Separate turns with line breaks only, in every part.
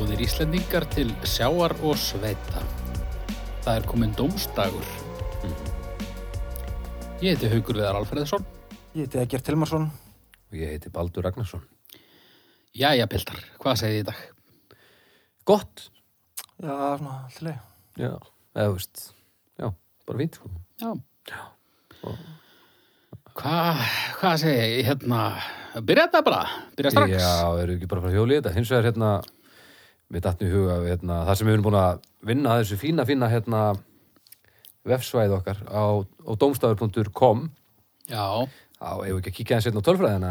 mingar til sjáar og sveita. Það er komin dómstagur. Ég heiti Haugur Viðar Alfreðsson.
Ég heiti Egert Tilmarsson.
og ég heiti Baldur Ragnarsson.
Jæja, Pildar, hvað segið þið í dag?
Gott!
Já, svona, alltaf leið.
Já, eða þú veist, já, bara fínt sko.
Já. Hvað, hvað segið ég, hérna, byrja þetta bara, byrja strax.
Já, eru ekki bara frá hjóli þetta. Hins vegar hérna, við dattnum í huga við, hérna, þar sem við erum búin að vinna að þessu fína, fína hérna vefsvæð okkar á, á domstafur.com
Já,
á, ef við ekki að kíkja hans hérna á tölfræðina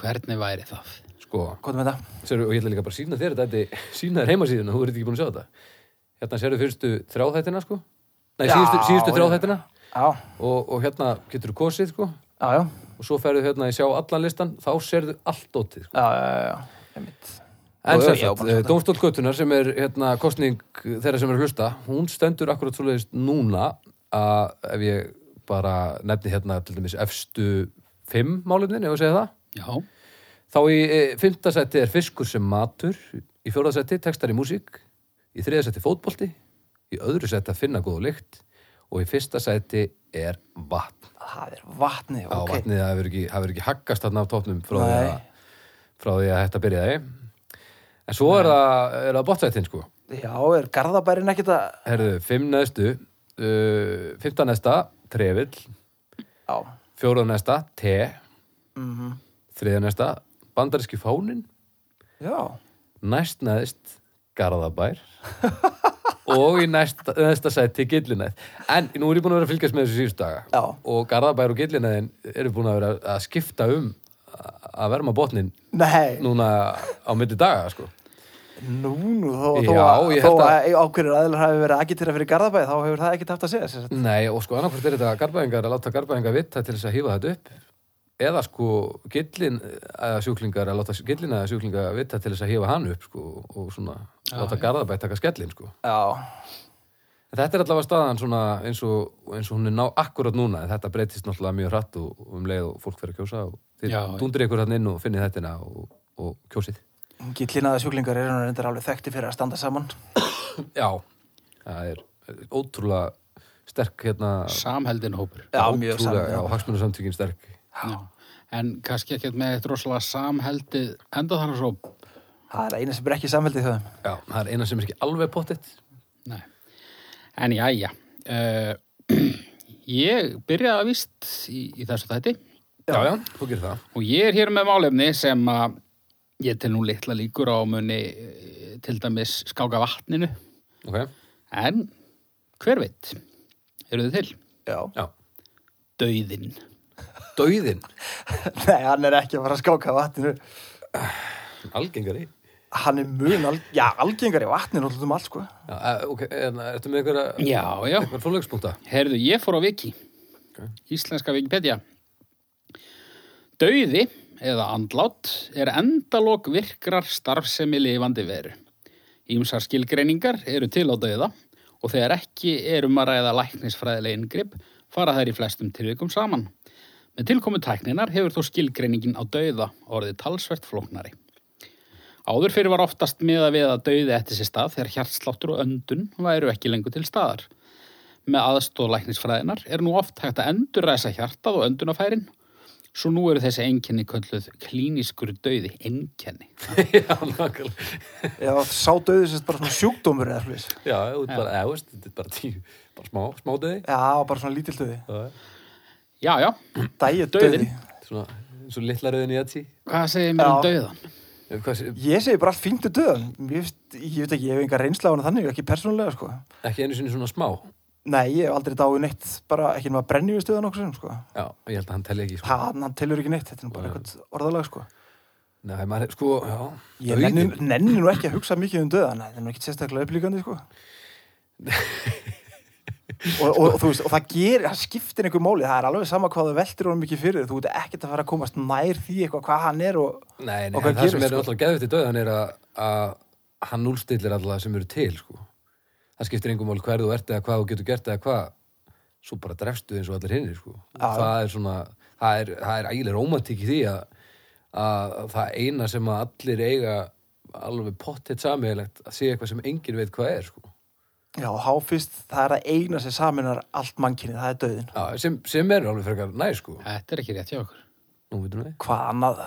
hvernig væri það?
sko,
Hvað er með það?
sér, og ég ætla líka bara að sína þér þetta, þetta sína þér heimasíðuna, þú ert ekki búin að sjá þetta hérna sérðu fyrstu þráðhættina sko nei,
Já,
síðustu, síðustu
já.
þráðhættina
Já,
og, og hérna getur þú kosið sko
já, já,
og svo ferðu hérna í sjá allan listan þá serðu allt dótið sko.
já, já, já, ég mitt.
en
Já,
sem
já,
sagt,
bara
eh, Dómstóll Götunar sem er hérna kostning þeirra sem er að hlusta hún stendur akkurat svoleiðist núna að ef ég bara nefni hérna til dæmis efstu fimm málefnin, ef ég segja það
Já,
þá í eh, fimmta seti er fiskur sem matur í fjórða seti textar í músík í þriða seti fótbolti í öðru seti að finna góða lykt og í fyrsta seti er vatn
Það er vatnið,
á
ok.
vatnið, það hefur ekki, það hefur ekki haggast þarna af tóknum frá, því
Nei.
að- frá því að þetta byrjaði en svo er það, er það bottsættin sko
Já, er garðabærin ekkit að...
herðu, fimm neðstu uh, fymta neðsta, trefill
Já,
fjóra neðsta, te
mhm,
þriða neðsta, bandaríski fánin
já,
næst neðst, garðabær og í næst, næsta sæti gillinæð, en nú er ég búin að vera að fylgjast með þessu síðust daga
Já.
og garðabær og gillinæðin eru búin að vera að skipta um að- að verma botnin
nei, nú,
núna á milli daga sko.
nú, þó,
Já,
þó að, þó
ég held að-
að ákveður aðlur hafi verið agitera fyrir garðabæði, þá hefur það ekkit haft að segja, sér sagt.
Nei, og sko annarkvort er þetta garbaðingar að láta garbaðingar vita til þess að hýfa þetta upp eða sko gillin eða sjúklingar að láta gillin eða sjúklinga vita til þess að hýfa hann upp sko og svona láta garðabætt taka skellin sko
Já,
en þetta er allavega staðan svona eins og, eins og hún er ná akkurat núna en þetta breytist náttúrulega mjög hratt og, og um leið og fólk fer að kjósa og þið
Já.
dundir ykkur hann inn og finnið þetta og, og kjósið
gillinaða sjúklingar eru nú reyndar alveg þekkti fyrir að standa saman.
Já, það er ótrúlega sterk hérna
samheldin hópur.
Já, mjög
ótrúlega,
saman.
já, hagsmunasamtökin sterk
Já. En kannski ekkert með eitt rosalega samheldið enda þannig svo,
Það er eina sem er ekki samveldið þau.
Já, það er eina sem er ekki alveg pottitt.
nei. En jæja, uh, ég byrjaði að víst í, í þessu þætti.
Já, já, þú gerir það.
Og ég er hér með málefni sem að ég tel nú litla líkur á muni eh, til dæmis skáka vatninu.
Ok,
En hver veit, eru þið til?
Já.
já.
Dauðin.
Dauðin,
Nei, hann er ekki að fara að skáka vatninu.
algengari.
Hann er mun, al já, algengar í vatninu alltaf um allt, sko.
Já, eh, ok, en ertu með einhverja,
Já, já.
einhverja frólegspunkta?
Herðu, ég fór á Viki. Íslenska Wikipedia. Dauði eða andlát er endalok virkrar starfsemi lifandi veru. Ímsar skilgreiningar eru til á dauða og þegar ekki erum að ræða læknisfræðileg inngrip fara þær í flestum tilvikum saman. Með tilkomu tækninar hefur þó skilgreiningin á dauða orðið talsvert flóknari. Áður fyrir var oftast miða við að dauði eftir sér stað þegar hjartsláttur og öndun væru ekki lengur til staðar með aðstóð læknisfræðinar er nú oft hægt að endurræsa hjartað og öndunafærin svo nú eru þessi einkenni kölluð klínískur dauði einkenni
já, nákvæmlega.
Já, sá döðu sérst bara svona sjúkdómur eða slúðis.
Já, þú ert bara, eða, þú veist, þetta er bara tíu, bara smá, smá döði.
Já, bara svona lítil döði.
Það er
Já, já,
Dæja
Dauðinn.
döði.
svona, svo litla rauðin í aðtí.
hvað segir mér um
Já.
dauðan?
Hvað, sé-
Ég segi bara allt fínt um döðan. Ég, veist- ég veit ekki, ég hef enga reynsla á hana þannig, ekki persónulega, sko.
ekki einu sinni svona smá.
Nei, ég hef aldrei dáið neitt, bara ekki nema að brenni við stöðan okkur sem, sko.
Já, ég held að hann telli ekki, sko.
Hann, hann telur ekki neitt, þetta er nú bara eitthvað orðalag, sko.
Nei, maður, sko, já,
Ég nenni, nenni nú ekki að hugsa mikið um döðan, þetta er nú ekki sérstaklega upplíkandi, sko. og, og, og þú veist, og það gerir, það skiptir einhver máli, það er alveg sama hvað þú veltir honum mikið fyrir, þú veit ekkert að fara að komast nær því eitthvað hvað hann er og
Nei, nei,
Og hvað
en það sem
gerist,
er
sko?
alltaf geðvitt í döðan er að, að hann núlstillir alltaf sem eru til, sko. Það skiptir engum mál hver þú ert eða hvað þú getur gert eða hvað, svo bara drefstu eins og allir hinnir, sko.
Já.
Það er svona, það er, það er ægileg rómatík í því að, að það eina sem að allir eiga alveg pottitt samiðilegt að sé eitthvað sem enginn veit hvað er sko.
Já, háfist, það er að eigna sér saminar allt mannkinni, það er döðin.
Já, sem, sem er alveg frekar næ sko.
Þetta er ekki rétt hjá okkur.
Nú veitum við,
Hvað annað?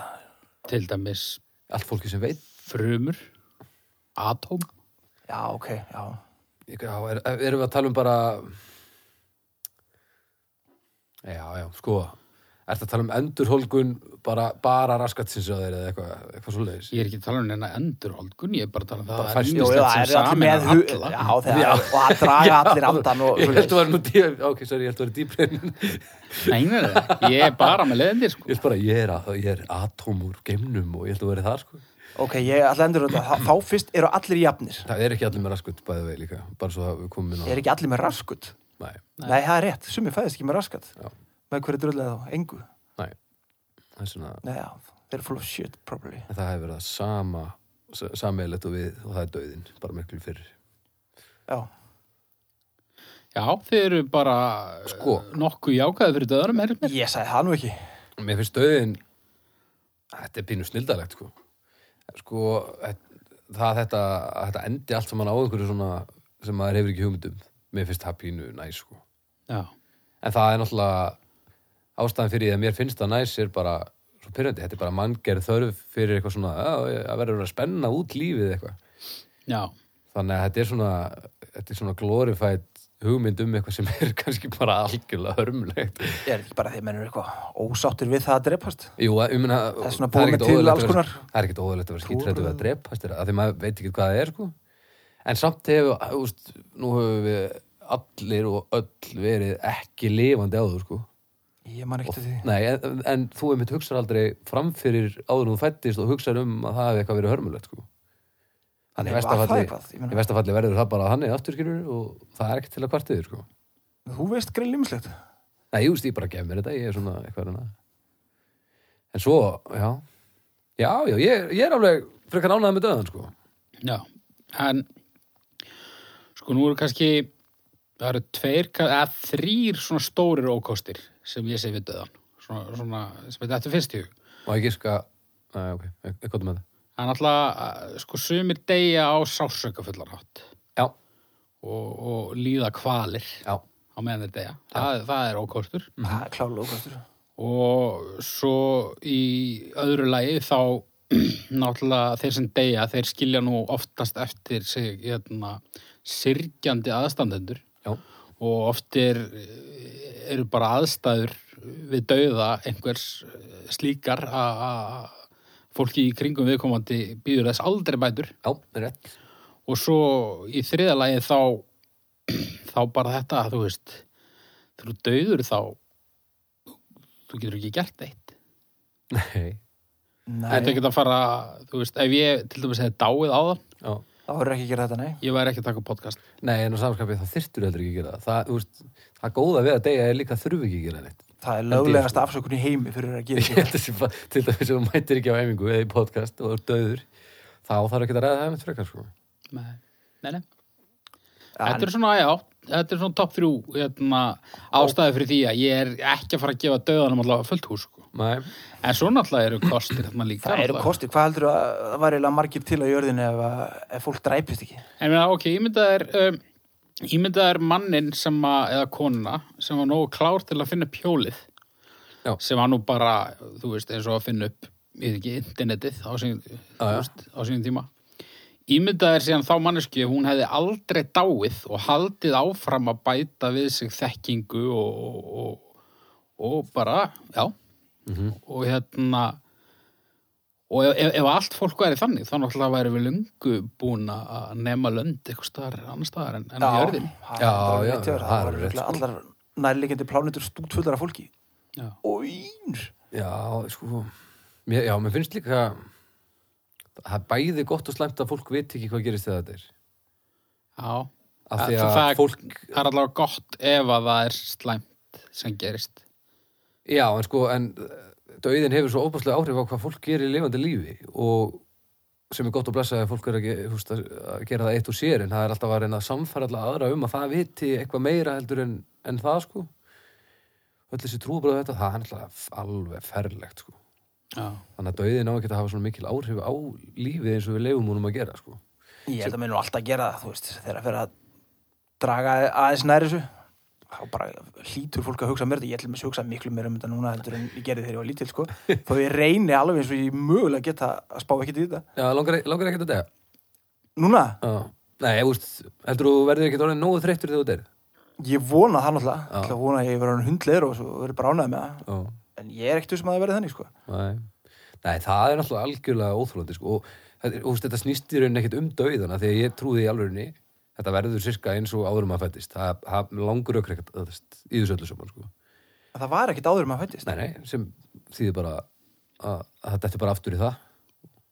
Til dæmis
allt fólki sem veit
frumur, atóm,
Já, ok, já.
Já, er, erum við að tala um bara Já, já, sko Ertu að tala um endurholgun bara, bara raskatsins að þeir eða eitthvað, eitthvað svo leiðis
ég er ekki að tala um neina endurholdgun, ég er bara að tala um það
Bara
að
fæst-
Jú,
ýmislegt
það er
sem
allir með
sameinar
hug.
alla.
Já, það er, og að draga allir andan og
Ég held að
svoleiðis.
vera nú dýr Ok, sorry, ég held að vera dýbrein
Nei, nei, nei, ég er bara með leðindir, sko.
Ég held bara, ég er, að, ég er atóm úr geimnum og ég held að vera það sko
Ok, ég ætla að endur þetta. Þá fyrst eru allir jafnir.
Það er ekki allir með raskutt bæði vegi líka Bara svo að við komum inn á
Er ekki allir með raskut?
Nei,
Nei, það er rétt. Sumi fæðist ekki með raskat.
Já.
Með hverju dröðlega þá? Engu.
nei Það er svona,
Nei, já, they're full of shit, probably.
en það hefur verið það sama sammeðilegt og við og það er döðin bara miklu fyrir
Já,
Já, þið eru bara
Sko.
eh, nokkuð jákaði fyrir döðarum, er mér.
ég sagði það nú ekki.
Mér finnst döðin Þetta er pínu snildalegt sko Sko þet- það þetta, að þetta endi allt saman á einhverju svona sem maður hefur ekki hugmyndum Mér finnst það pínu næs sko
Já,
En það er náttúrulega ástæðan fyrir því að mér finnst það næs er bara svo pyrrandi, þetta er bara manngerð þörf fyrir eitthvað svona, að það verður að spenna út lífið eitthvað
já,
þannig að þetta er svona þetta er svona glorified hugmynd um eitthvað sem er kannski bara algjörlega hörmulegt
Ég er ekki bara því að mennur eitthvað ósáttir við það að drepast.
Jú, að- ég meina,
Það er svona
það er
búið
ekkert sko.
með til
óðurlegt
alls
að vera-
konar.
það er ekkert óðurlegt að vera skítrættu við að
Trúarbrögð.
drepast þeirra, af því maður veit ekki hvað það er sko. en samt hefur úst, nú hefur við allir og öll verið ekki lifandi áður sko.
Ég man ekkert að því.
Nei, en, en þú einmitt hugsar aldrei framfyrir áður en þú fættist og hugsar um að það hefur eitthvað verið hörmulegt sko. Þannig
Nei, var það
vestafalli,
eitthvað? Ég meina-
í vestafalli verður það bara þannig aftur skilur og það er ekki til að kvartiður sko.
Þú veist greið limslegt.
Nei, ég veist, ég bara gef mér þetta, ég er svona eitthvað hérna. En svo, já, já, já, ég, er- ég er alveg frekar ánægð með döðan, sko.
já. En, sko, nú eru kannski, það eru tveir, ka- eða þrýr svona stórir ókostir sem ég sé við döðan. Svona, svona sem þetta er fyrst í hug.
Má ég giska, nei, ok, eitthvað um með það.
Það er náttúrulega, eh, sko, sumir deyja á sásökafullan hátt
Já,
og, og líða kvalir
já,
á meðan þeir deyja. Það, það er ókostur.
Það er klálega ókvæmstur.
og svo í öðru lagi þá náttúrulega þeir sem deyja þeir skilja nú oftast eftir sig hérna, sirgjandi aðstandendur
já,
og oft er, eru bara aðstæður við dauða einhvers eh, slíkar að að fólki í kringum viðkomandi býður þess aldrei bætur
já, er rétt.
og svo í þriða lagi þá þá bara þetta þú veist, þegar þú dauður þá þú getur ekki gert eitt
Nei,
Þetta er
Nei,
ekkert að fara, þú veist, ef ég til dæmis hefði dáið á það,
já.
þá verður ekki að gera þetta, nei.
ég væri ekki að taka podcast.
Nei, en á samskapið þá þyrftur heldur ekki að gera það. Það, þú veist, það góða við að deyja er líka að þurfi ekki að gera neitt.
Það er
ég,
löglegast
sko.
afsökun í heimi fyrir að gera
Ég
ekki
held að sé bara, til dæmis ef þú mætir ekki á heimingu eða í podcast og er döður, þá þarf ekki að ræða það einmitt frekar, sko.
Nei, nei. nei. Þetta
En
er svona, já, þetta er svona topp þrjú hérna, ástæði fyrir því að ég er ekki að fara að gefa döðanum allavega fullt hús. Sko.
Nei,
En svo náttúrulega eru kostir þarna líka.
Það eru
náttúrulega.
kostir, hvað heldur að það var eiginlega margir til á jörðinu ef, að- ef fólk dræpist ekki?
En meina, ok, ímyndað er, um, ímyndað er mannin sem að, eða konuna, sem var nógu klár til að finna pjólið.
Já.
Sem var nú bara, þú veist, eins og að finna upp, ég veit ekki, internetið á sín, þú
já.
veist, á sín tíma. Ímyndað er síðan þá manneski, hún hefði aldrei dáið og haldið áfram að bæta við sig þekkingu og, og, og, og bara, já, og hérna, Og ef, ef, ef allt fólk væri þannig, þá náttúrulega væri við lungu búin að nema lönd eitthvað staðar, annar staðar en, en á jörðin.
það
Já,
er bara rétt
já,
hjá þér. það
það er
var
rétt,
örugglega allar nærlegjandi plánutur stútfullar af fólki.
Já.
Óýr!
Já, sko mér, Já, mér finnst líka það er bæði gott og slæmt að fólk viti ekki hvað gerist þegar þetta er
Já.
Af
Það,
því að
það,
fólk,
það er allavega gott ef að það er slæmt sem gerist.
já, en sko en dauðin hefur svo óbúslega áhrif á hvað fólk gerir í lifandi lífi og sem er gott og blessa að fólk er ekki húst, að að gera það eitt og sér en það er alltaf að reyna að samfæra alltaf aðra um að það viti eitthvað meira heldur en, en það sko öll þessi trúbröðu þetta, það er alltaf alveg ferlegt sko
Já.
þannig að dauðin á ekki að hafa svona mikil áhrif á lífið eins og við leifum honum að gera sko.
Ég held að mér nú alltaf að gera það, þú veist, þegar að fyrir að draga aðeins nær þessu þá bara hlýtur fólk að hugsa mér þetta, ég ætlum að hugsa miklu mér um þetta núna heldur en ég gerði þegar ég var lítil, sko þó ég reyni alveg eins og ég mögulega geta að spá ekkert í þetta.
Já, langar, langar ekki að dega
Núna,
Já. Nei, ég veist, heldur þú verður ekki orðin nógu þreyttur þegar þú deyr
ég vona það náttúrulega, ég ætla að vona að ég verður hundleir og svo verður bránað með það,
Já,
en ég er ekkert sem að það verði þannig, sko.
nei Nei, það er náttúrulega algjörlega óþólandi sko. og þetta, og, þú veist, þetta snýst í rauninni ekkit um dauðana því að ég trúði í alvörinni þetta verður sirka eins og áður um að fættist það, það langur ökkur ekkert þú veist, í þessu öllu saman sko.
En Það var ekkert áður um að fættist,
Nei, nei, sem þýðir bara að, að þetta er bara aftur í það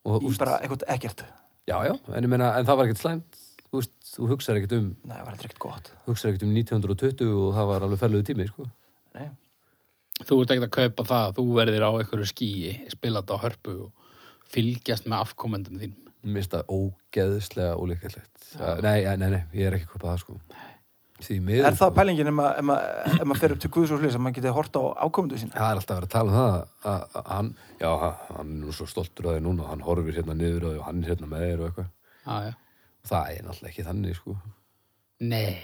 og,
ég bara ekkert ekkert.
Já, já, en ég meina, en það var ekkert slæmt þú veist, þú hugsaði ekkert um
Nei, það var heldur ekkert gott.
hugsaði ekkert um 1920 og það var alveg ferluðu tími, sko
Nei.
Þú ert ekkert að kaupa það, þú verðir á einhverju skýi, spila þetta á hörpu og fylgjast með afkomendum þín.
mista ógeðslega ólíkilegt nei, nei, nei, nei, ég er ekki kopað það, sko Því miður,
Er það
sko.
pælingin ef maður- ef maður ef maður fer upp til Guðs og slið sem maður getið hort á ákomendu sína?
Það er alltaf að vera að tala um það að, að hann, já, hann er nú svo stoltur að þið núna, hann horfir hérna niður að þið og hann er hérna með þér og eitthvað
Já, já.
Það er náttúrulega ekki þannig, sko
Nei.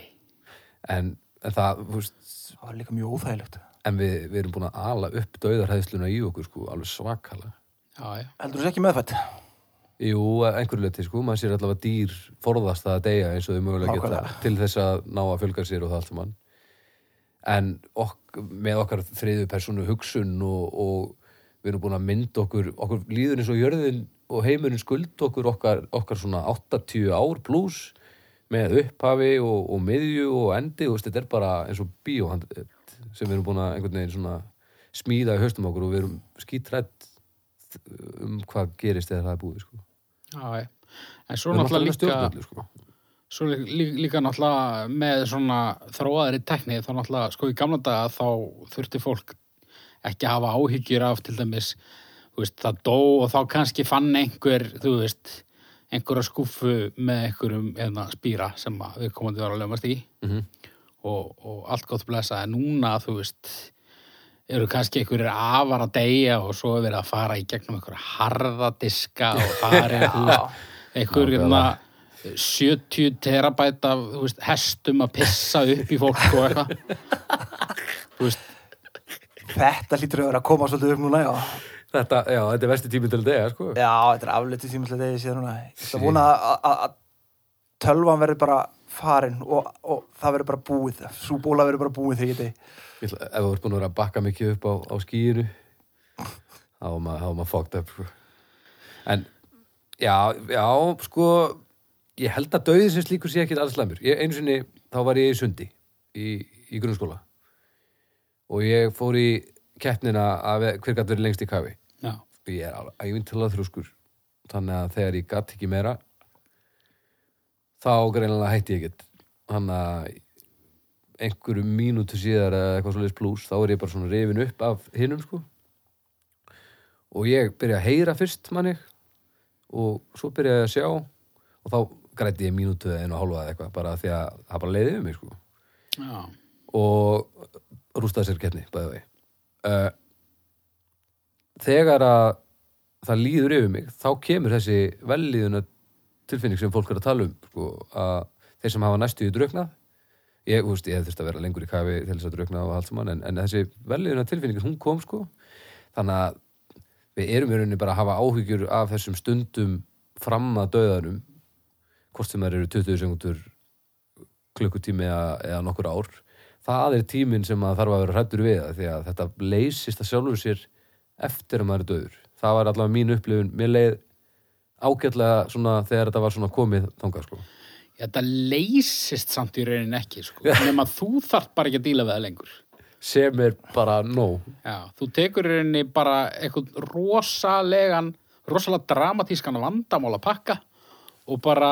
En, en það, þú veist,
Það var líka mjög óþægilegt.
en við, við erum búin að ala upp dauðarhæðsluna í okkur, sko, alveg svakalega
Já, já.
Heldur þú þessi ekki meðfætt?
Jú, að einhverju leti sko, maður sér allavega dýr forðast það að deyja eins og þau mögulega geta
Nákvæmlega.
til þess að ná að fjölga sér og það allt saman. En ok, með okkar þriðu persónu hugsun og, og við erum búin að mynda okkur, okkur líður eins og jörðin og heimurinn skuld okkur okkar, okkar svona 80 ár pluss með upphafi og, og miðju og endi og þetta er bara eins og bíóhand sem við erum búin að einhvern veginn svona smíða í haustum okkur og við erum skítrætt um hvað gerist þegar það er búið sko.
Já, já. En svo
Við erum alltaf
náttúrulega
með
líka...
stjórnvöldu sko.
Svo lí- lí- líka náttúrulega með svona þróaðri tekni þá náttúrulega sko í gamla daga þá þurfti fólk ekki að hafa áhyggjur af til dæmis þú veist, það dó og þá kannski fann einhver þú veist einhverja skúfu með einhverjum eðna, spýra sem að við komandi var að löfast í
Mhm.
og, og allt gott blessa en núna þú veist eru kannski einhverjir afar að deyja og svo er verið að fara í gegnum einhverja harðadiska og fara einhver- einhver hérna, 70 terabæt af þú veist, hestum að pissa upp í fólk og eitthvað
Þetta lítur að vera að koma svolítið upp núna, já.
Þetta, já, þetta er versti tíminn til að deyja sko.
Já, þetta er aflitið tímislega degi síðan núna. Ég ætla að vona að- að að tölvan verður bara farin og, og það verður bara búið. Súbóla verður bara búið þegar ég degi.
Ég ætla- Ef þú ert búin að vera að bakka mikið upp á, á skýru þá er maður þá er maður fucked up sko. En já, já, sko ég held að dauði sem slíkur sé ekkit alls slæmur. Ég, einu sinni, þá var ég í sundi í, í grunnskóla og ég fór í keppnina að ve- hver gætt verið lengst í kafi
Já,
og ég er alveg ævintilega þrjóskur þannig að þegar ég gatt ekki meira þá greinlega hætti ég ekkert þannig að einhverju mínútu síðar eða eitthvað svoleiðis blús þá er ég bara svona rifin upp af hinnum sko og ég byrja að heyra fyrst manni og svo byrja ég að sjá og þá græti ég mínútu eða einu og hálfa eða eitthvað bara af því að það bara leiði um mig sko
já,
og rústaði sér keppni bæði vei uh, þegar að það líður yfir mig þá kemur þessi vellíðuna tilfinning sem fólk er að tala um sko, að þeir sem hafa næstu í drauknað ég, þú veist, ég þurfti að vera lengur í kafi til þess að draukna og allt saman en, en þessi vellíðuna tilfinning, hún kom sko þannig að við erum í rauninni bara að hafa áhyggjur af þessum stundum fram að döðanum hvort sem þær eru 20 sekundur klukkutími eða, eða nokkur ár það er tíminn sem maður þarf að vera hrættur við af því að þetta leysist að sjálfur sér eftir að maður er döður það var allavega mín upplifun, mér leið ágætlega svona þegar þetta var svona komið þangað sko
þetta leysist samt í raunin ekki sko, nema þú þarft bara ekki að díla við það lengur
sem er bara nóg
Já, þú tekur í rauninni bara einhvern rosalegan, rosalega dramatískan vandamál að pakka og bara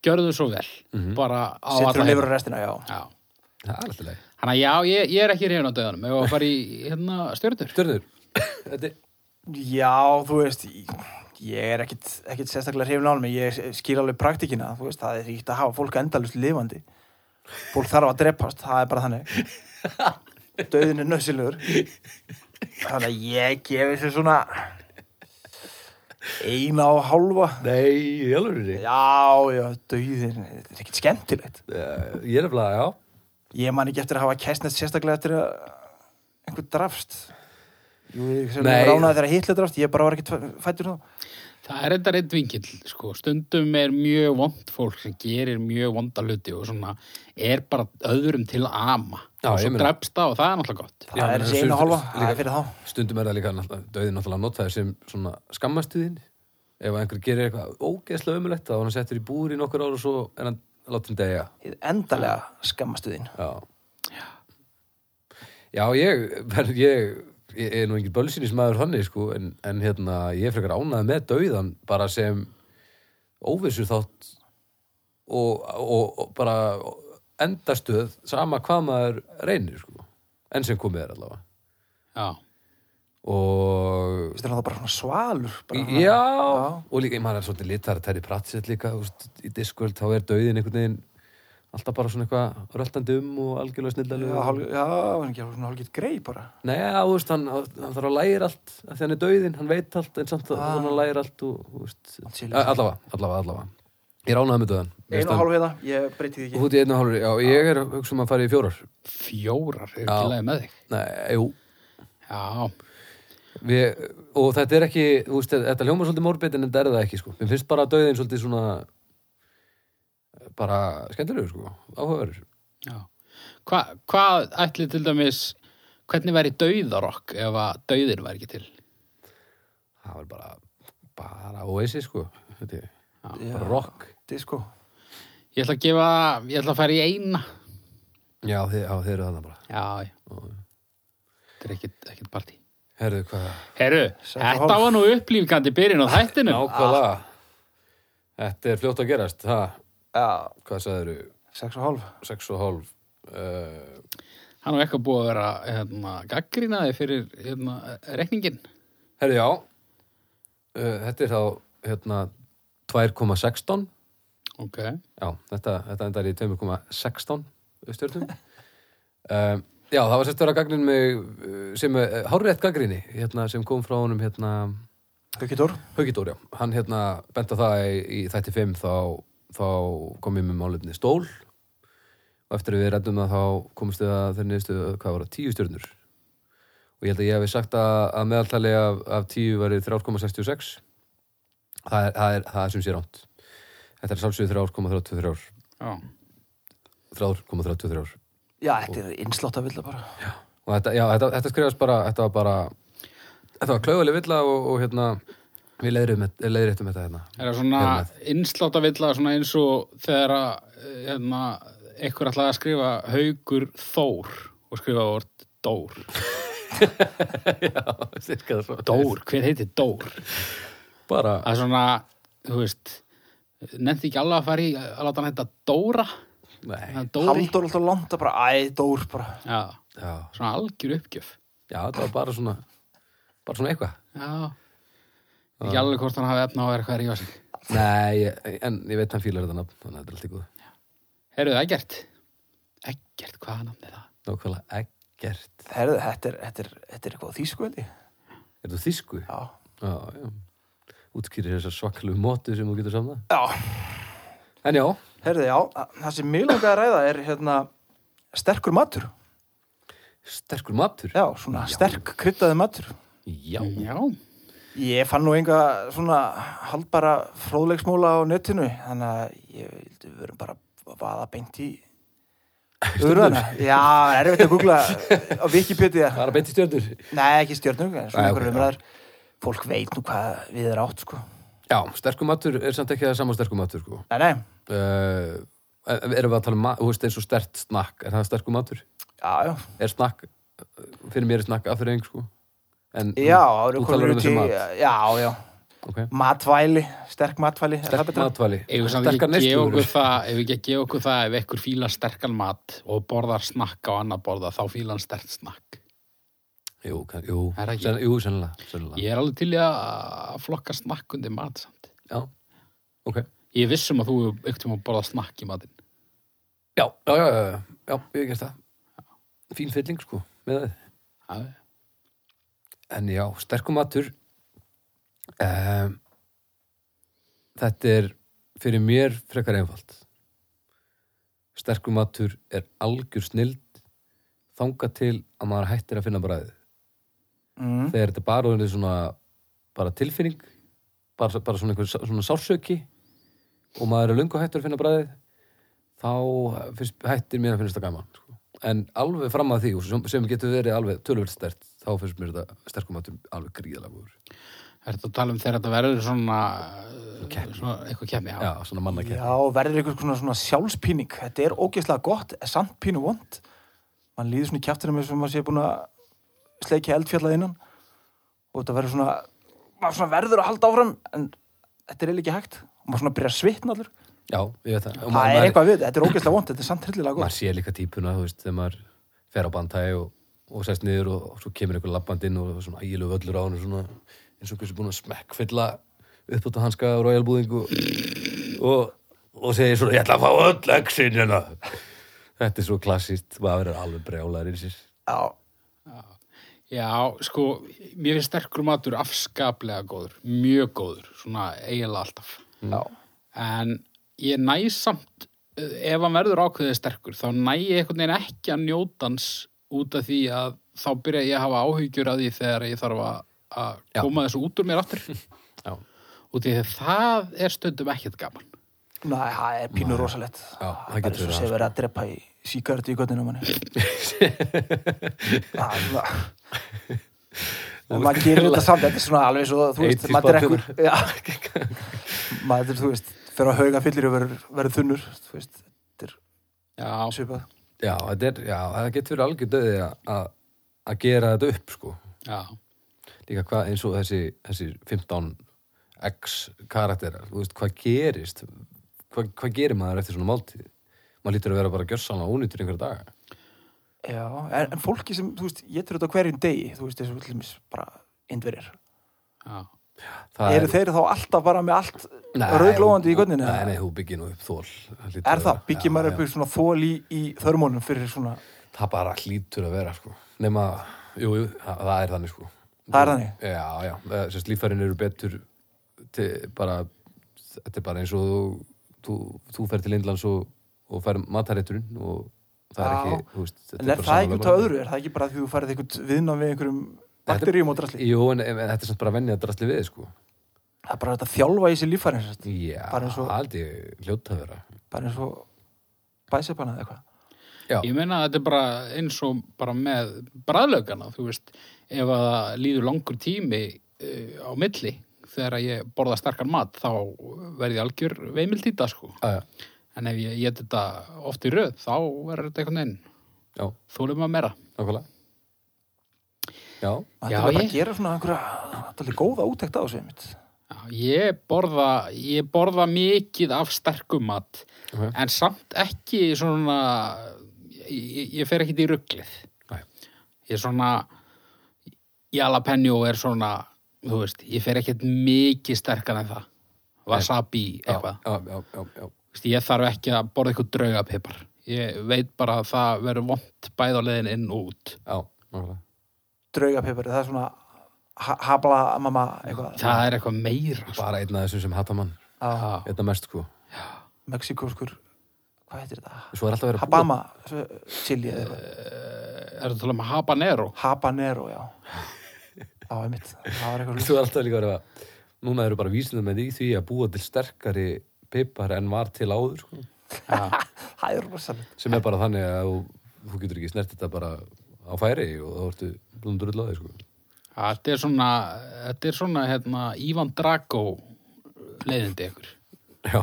gjörðu svo vel,
Mhm.
bara á
Settur
alla
og lifur
hérna.
á restina, já.
Já,
það er alltaf leið
þannig að já, ég, ég er ekki hrifin á döðanum, ég var að fara í hérna stjörnur.
Stjörnur, þetta er
Já, þú veist, ég er ekkit, ekkit sérstaklega hrifin á hann, ég skil alveg praktikina, þú veist, það er ríkt að hafa fólk endalust lifandi. Fólk þarf að drepast, það er bara þannig. Dauðin er nöðsilur. Þannig að ég gefi sér svona, eina og hálfa
Nei, ég alveg er
já, já, dauðin þetta er ekkert skemmtilegt
Ég er eflag, já.
ég man ekki eftir að hafa kæstnett sérstaklega eftir að einhver drafst Jú, ég sem
Nei.
ránaði þegar Hitler drafst ég bara var ekkert fæ- fæddur þá
Það er þetta reitt vinkill, sko. Stundum er mjög vond fólk sem gerir mjög vonda hluti og svona er bara öðrum til ama.
Já,
og
ég
svo
meina.
drefst það og það er náttúrulega gott.
það
Já,
er
menn,
þessi
sum-
eina og hálfa,
líka-
það er fyrir þá
Stundum er það líka náttúrulega- dauðin náttúrulega notaður sem svona skammastuðin. Ef einhver gerir eitthvað ógeðslega ömulegt þá er hann settur í búr í nokkur ár og svo er hann látið degja.
Hið endalega skammastuðin
Já. Já, ég, verð- ég, ég er nú engin bölsinismæður þannig, sko, en, en hérna, ég er frekar ánæði með dauðan bara sem óvissu þátt og, og, og bara endastöð sama hvað maður reynir, sko, enn sem komið er allavega.
Já,
Og
Þetta er náttúrulega bara svona svalur bara,
já, og líka, maður er svolítið litar að terri pratsett líka, þú veist, í diskvöld þá er dauðin einhvern veginn alltaf bara svona eitthvað röltandi um og algjörlega snildalega.
Já, hálf, já, hann gerur svona hálfgeitt grei bara
Nei, já, þú veist, hann, hann þarf að læra allt af því hann er dauðinn, hann veit allt en samt að
Ah.
hann læra allt og, þú veist,
Allt sé lýsing.
a- allavega, allavega, allavega Ég er ánægð með döðan
Einu og hálf við það, hérna. ég breyti því
Þú
ekki
ert í einu og hálfur, já, ég er að hugsa um að fara í fjórar
fjórar er
Já.
ekki leið með þig.
Nei, jú,
Já,
við, og þetta er ekki, þú veist, þetta hljóma svolítið morbid en þetta er það ekki, sko Mér finnst bara döðin svolítið svona bara skemmtilegur, sko, áhugaverður
já. Hva, hvað ætli til dæmis, hvernig væri dauðarokk ef að dauðir væri ekki til?
Það var bara, bara oasis, sko, þetta er
Já.
bara rock
Disco
Ég ætla að gefa, ég ætla að fara í eina.
Já, þið, já, þið eru þarna bara
Já, já. Þetta er ekkit, ekkit partí.
Herðu, hvað
Herru,
Sex og
þetta
hálf.
var nú upplýfgandi byrjun á þættinu.
Nákvæmlega. Þetta er fljótt að gerast, ha?
Já,
Hvað sagður þú?
sex og hálf
6 og hálf. Uh,
Hann var eitthvað búið að vera hérna, gaggrinaði fyrir hérna, rekningin.
herri, já. Uh, þetta er þá, hérna, 2,16.
Ok.
Já, þetta, þetta endar í 2,16 stjórnum. um, já, það var sérstöra gagninn með, uh, sem, uh, hárétt gaggrinni, hérna, sem kom frá honum, hérna,
Haukitór
Haukidór, já. Hann, hérna, bent á það í, í þætti 5, þá, þá kom ég með málefni stól og eftir að við reddum það þá komumst við að þeir niðurstöðu að hvað var það, tíu stjörnur og ég held að ég hefði sagt að, að meðaltali af, af tíu verið 3,66 það er, það er, það er sem sé rámt þetta er sálsöðu 3,33
Já.
3,33
Já, þetta er innslátt að vilja bara
og þetta, já, þetta, þetta skrifast bara þetta var bara, þetta var klauðaleg villa og, og hérna, við leiðréttum þetta- leiðréttum þetta hérna
Það er svona innslátavilla svona eins og þegar að hérna, ekkur ætlaði að skrifa haugur þór og skrifa vort dór.
já, styrka það svo
Dór, hver heiti dór?
bara,
Það er svona, þú veist, nefndi ekki alveg að fara í að láta hann heita Dóra.
nei,
Það er Dóri.
Halldór alltaf landa bara, æ, dór bara
Já,
já,
svona algjör uppgjöf.
já, þetta var bara svona bara svona eitthvað
Já. Ekki alveg hvort hann hafi efna á að vera hvað er í sig.
Nei, ég- en ég veit hann fílar þetta nafn, þannig að þetta er allt í góð.
Herruðu, Eggert. Eggert, hvaða nafn er það?
Nákvæmlega ekkert.
Herðu, þetta er, þetta er, þetta er eitthvað á þýsku held ég
Er þú þýsku?
Já,
Já, já. Útskýrir þessar svaklu mótu sem þú getur samna.
já,
En já,
herðu, já Það sem mjög langaði að ræða er hérna sterkur matur
sterkur matur.
Já, svona sterk kryddaði matur
Já.
Já,
Ég fann nú enga svona haldbara fróðleiksmóla á netinu þannig að ég vildi við verum bara að vaða beint í Urðana. Já, erfitt að googla á Wikipedia
Bara beint í stjörnur.
Nei, ekki stjörnum, en svona
Nei,
einhverjum
ok,
umræður Fólk veit nú hvað við er átt, sko
Já, sterkur matur er samt ekki það saman sterkur matur, sko.
Nei, nei,
Uh, erum við að tala um, ma- þú veist, eins og stert snakk, er það sterkur matur?
já, já
Er snakk, fyrir mér er snakk afturreng, sko. En,
Já, áður
þú
konur
talar um
út
þessi
í
mat.
Já, já,
Ok.
matvæli, sterk matvæli er það
Sterk
betra?
matvali.
ef við samt ekki
Sterkar
að gefa
neyslugur.
okkur það, ef við ekki að gefa okkur það, ef ekkur fílar sterkan mat og borðar snakk á annað borða, þá fílar hann stert snakk.
Jú, kann, jú,
Er það ekki?
sen, jú, sennilega, sennilega.
Ég er alveg til í að flokka snakk undir mat samt.
Já, ok.
Ég er viss um að þú ykkur tíma borða snakk í matinn.
Já, já, já, já, já, já ég hef gert það. Fín fylling, sko, með það.
Já,
En já, sterkum matur. Um, þetta er fyrir mér frekar einfalt sterkur matur er algjör snild þanga til að maður hættir að finna bræðið
mm.
þegar þetta bara orðið svona bara tilfinning bara, bara svona einhver sá- svona sársöki og maður er löngu hættur að finna bræðið þá finnst, hættir mér að finnst það gaman sko. en alveg fram að því og sem, sem getur verið alveg tölvöld stert þá finnst mér þetta sterkum matur alveg gríðalega góður
Er þetta að tala um þegar þetta verður svona, svona eitthvað kemmi? Já.
já, svona mannakæð
Já, verður einhver svona, svona sjálfspíning þetta er ógeðslega gott, en samt pínu vond mann líður svona í kjæftinu með sem maður sé búin að sleikja eldfjallað innan og þetta verður svona maður svona verður að halda áfram en þetta er eiginlega ekki hægt og maður svona byrjar að svitna allur
já, ég veit það Og
það
maður-
er eitthvað við, þetta er ógeðslega vond, þetta er samt hryllilega gott
maður sé líka típuna, þú veist, þegar maður fer á bandhæði og, og sest niður og, og svo kemur einhver labband inn og svona ægilegu völlur á hann og svona eins og einhver sem búin að smekkfylla upp út á hanska og royalbúðing og, og, og segir svona, ég ætla að fá öll öxin hérna. Þetta er svo klassist, maður er alveg brjálæður í sér.
Já,
sko, mér finnst sterkur matur afskaplega góður, mjög góður, svona eiginlega alltaf.
já,
En ég næ samt, eh, ef hann verður ákveðið sterkur, þá næ ég einhvern veginn ekki að njóta hans út af því að þá byrja ég að hafa áhyggjur að því þegar ég þarf að, að
Já.
koma þessu út úr mér aftur.
Já,
Út í því að það er stundum ekkert gaman.
næ, það er pínu rosalett
Já, það
það
getur
er svo
verið
sem
það,
verið að drepa í síkartu í göttinu manni Það er svona En maður gerir þetta samt, þetta er svona alveg svo, þú veist,
80s
maður er ekkur,
barnum.
já, maður, þú veist, fyrir að hauga fyllir og verður, verður þunnur, þú veist, þetta er
Já,
svipað.
já, þetta er, já það getur verið algjör döði að- að að gera þetta upp, sko.
já,
líka hvað eins og þessi, þessi 15 x karakterar, þú veist, hvað gerist hvað, hvað gerir maður eftir svona máltíð maður lítur að vera bara gjössan og ónýtur einhverja daga
Já, en, en fólki sem, þú veist, ég þetta á hverjum degi, þú veist, þessu villumis bara indverjar.
já.
Það
Eru þeir þá alltaf bara með allt
Nei,
rauglóðandi
þú-
í gönninu?
Nei, nei, þú byggir nú upp þól það hlýtur
Er
að
það,
vera.
byggir maður
Já,
upp svona þól í, í þörmónum fyrir svona,
já. Það bara hlýtur að vera, sko nema, jú, jú, það, það er þannig, sko
það er þannig?
Já, já, eh, sérst líffærin eru betur til, bara, þetta er bara eins og þú, þú, þú fer til Indlands og, og fer matarétturinn og það er
Já.
ekki, þú veist þetta
En er
bara
það
sama
ekki út
lögmál.
af öðru? Er það ekki bara því þú færið einhvern viðnám við einhverjum
Þetta-
bakteríum og drasli?
Jú, en, en þetta er samt bara vennið að drastli við, sko.
Það er bara þetta þjálfa í sér líffærin, sem sagt.
Já,
Bara eins og-
held ég hljóta að vera.
bara eins og bæsepana eða eitthvað.
Já,
Ég meina að þetta er bara eins og bara með bræðlaugana, þú veist, ef að það líður langur tími uh, á milli þegar að ég borða starkan mat þá verði ég algjör veimildýta sko.
já, já,
En ef ég get þetta oft í röð þá verður þetta einhvern veginn,
já,
þólum að meira.
nákvæmlega. Já,
Það
Já,
er bara
ég-
að gera svona einhverja allir góða útækt á þessu einmitt.
Já, ég, borða, ég borða mikið af sterkum mat
Ok.
en samt ekki svona, ég, ég fer ekkit í rugglið.
Nei.
Ég er svona, jalapenjó er svona, þú veist, ég fer ekkit mikið sterkan en það. Wasabi
já,
eitthvað.
já, já, já, já,
Þú veist, Ég þarf ekki að borða eitthvað draugapipar. Ég veit bara að það verður vont bæð á leiðin inn og út.
já, nákvæmlega.
Draugapepari, það er svona ha- habla mamma eitthvað.
Það er eitthvað meira. Ah. sko.
Bara einn af þessum sem hata mann,
Já,
Já.
einna mest, sko.
Mexikóskur, hvað heitir þetta?
Svo er alltaf verið að búa,
Habama, svo- chili eða eitthvað.
Eh, Er þetta tala um habanero?
Habanero, já. Já, einmitt. Það var eitthvað.
svo er alltaf líka verið að, núna eru bara vísindum með því því að búa til sterkari pipar en var til áður, sko.
Það er rosalegt.
Sem er bara þannig að þú, þú getur ekki snert þetta bara á færi og þá ertu búin drullaði, sko.
Þetta er svona, þetta er svona hérna, Ívan Drago leiðindi ykkur.
Já,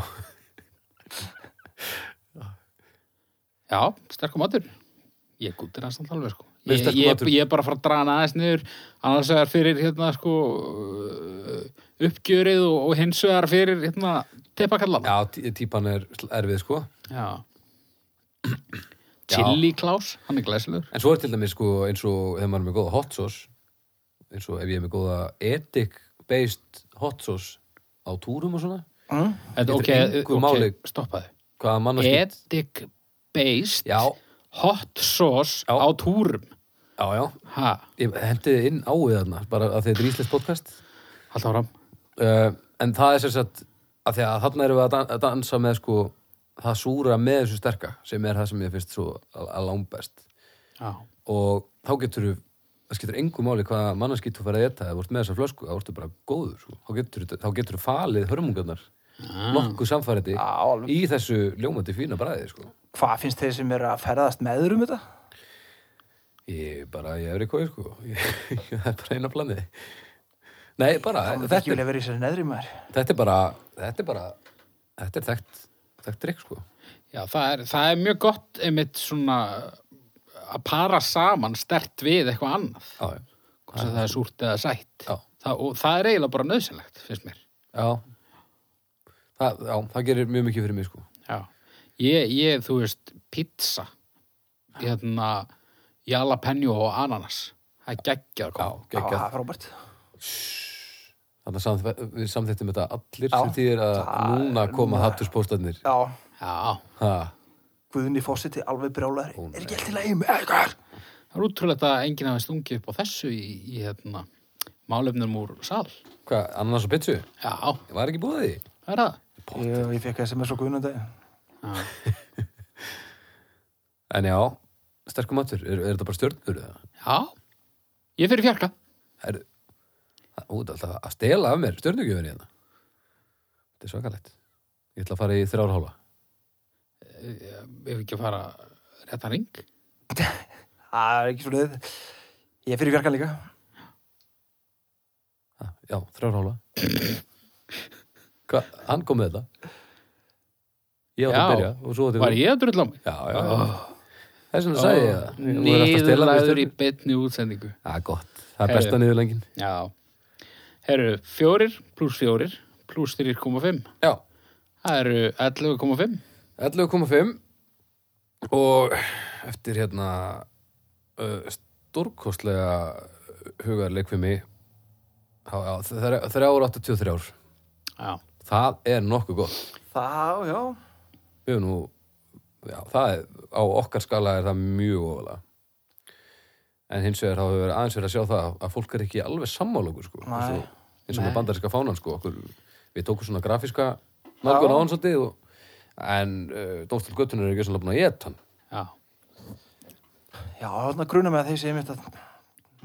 Já, sterkum matur. Ég gúttir hans samt alveg, sko.
Með
Ég,
sterkum
ég,
matur.
ég er bara að fara að draga hann aðeins niður, annars vegar fyrir hérna, sko, uh, uppgjörið og, og hins vegar fyrir hérna, tepakallan.
já tí- típan er sl- erfið, sko.
Já. Chili Klaus, hann er glæsilegur.
En svo er til dæmis sko eins og þegar maður er með góða hot sauce eins og ef ég er með góða edik based hot sauce á túrum og svona
Mm?
Þetta, ok,
engu
ok,
máli.
stoppaði.
hvaða mannarskipt
Edik based
Já,
hot sauce
Já.
á túrum.
já, já
Ha,
Ég hendi þið inn á við þarna bara að þetta er íslensk podcast
halda áram.
uh, en Eh, það er sér satt af því að þarna erum við að dan- að dansa með sko, það súra með þessu sterka sem er það sem ég finnst svo að, að langbest
Já,
og þá getur þú það skiptir engu máli hvaða mannarskýtt þú færði að geta eða vort með þessa flösku, þá ertu bara góður sko. þá getur þú- þá getur þú falið hörmungarnar nokkuð samfærandi
Ah. Já, alveg.
í þessu ljómandi fína bræði sko.
Hvað finnst þeir sem eru að ferðast meður um þetta?
ég bara, ég er í kói sko. ég, það er bara eina planið nei, bara,
Það er ekki
þetta, er-
vilja verið í sér neðri maður.
þetta er bara þetta er bara, þetta er þekkt þekkt drikk sko
Já það, er, það er mjög gott einmitt svona að para saman stert við eitthvað annað.
já, já.
Hvort sem það er súrt eða sætt.
Já.
Það, og það er eiginlega bara nöðsynlegt, finnst mér.
já. Það, já, það gerir mjög mikið fyrir mig sko
Já. Ég, ég þú veist, pizza, hérna, jalapenjó og ananas. Það er geggjað að
já,
koma.
Já, það
geggjað
er frábært.
Þannig að samþ- við samþýttum þetta allir
Já.
sem þýðir að
Það-
núna koma hattuspóstarnir.
Já,
Já,
Ha,
Guðni Fósiti, alveg brjálæður.
Ó, nei.
Er ekki allt í lagi með eitthvað?
það er útrúlegt að enginn hafi stungið upp á þessu í, í hérna, málefnum úr sal.
hvað, annars og pizzu?
Já, það
Var ekki búið því?
er það.
Jú, Ég fekk SMS á Guðnum um daginn.
Já.
En já, sterkum hattur, er, er þetta bara stjörnur eða?
Já, ég fyrir fjarka.
Er, það- ú, það er alltaf að stela af mér stjörnugjöfin hérna. Þetta er svakalegt. Ég ætla að fara í þrjárhóla.
Ef ekki að fara réttan ring.
Það er ekki svo leið. Ég er fyrir fjarkan líka.
Ha, já, þrjárhóla. Hvað, hann kom með þetta? Ég átti
Já.
að byrja og svo átti
Var ég að drulla á mig?
Já, já, já. Þess vegna sagði ég það. Þú er alltaf að stela af mér
Nýðurlæður í
stjörnur.
beinni útsendingu.
Það er gott. Það er
Heyrðu.
besta niðurlengin.
Já. Herru, fjórir pluss fjórir pluss 3,5.
Já,
Það eru 11,5.
11,5 og eftir hérna uh, stórkostlega hugarleik fyrir mig Já, já, þre- 383 ár.
Já.
Það er nokkuð gott.
Það, já.
Við erum nú, já, það er, á okkar skala er það mjög ofalega. En hins vegar þá hefur verið aðeins verið að sjá það að fólk er ekki alveg sammála okkur, sko.
Nei.
Eins og- Eins og með
Nei.
bandarinska fánan, sko. Okkur, við tókum svona grafíska nálgun
Já.
á hann svolítið og, en uh, Dómstil Göttunar er ekki svona búin að geta hann.
Já.
Já, þannig að gruna með að þeir segja mér þetta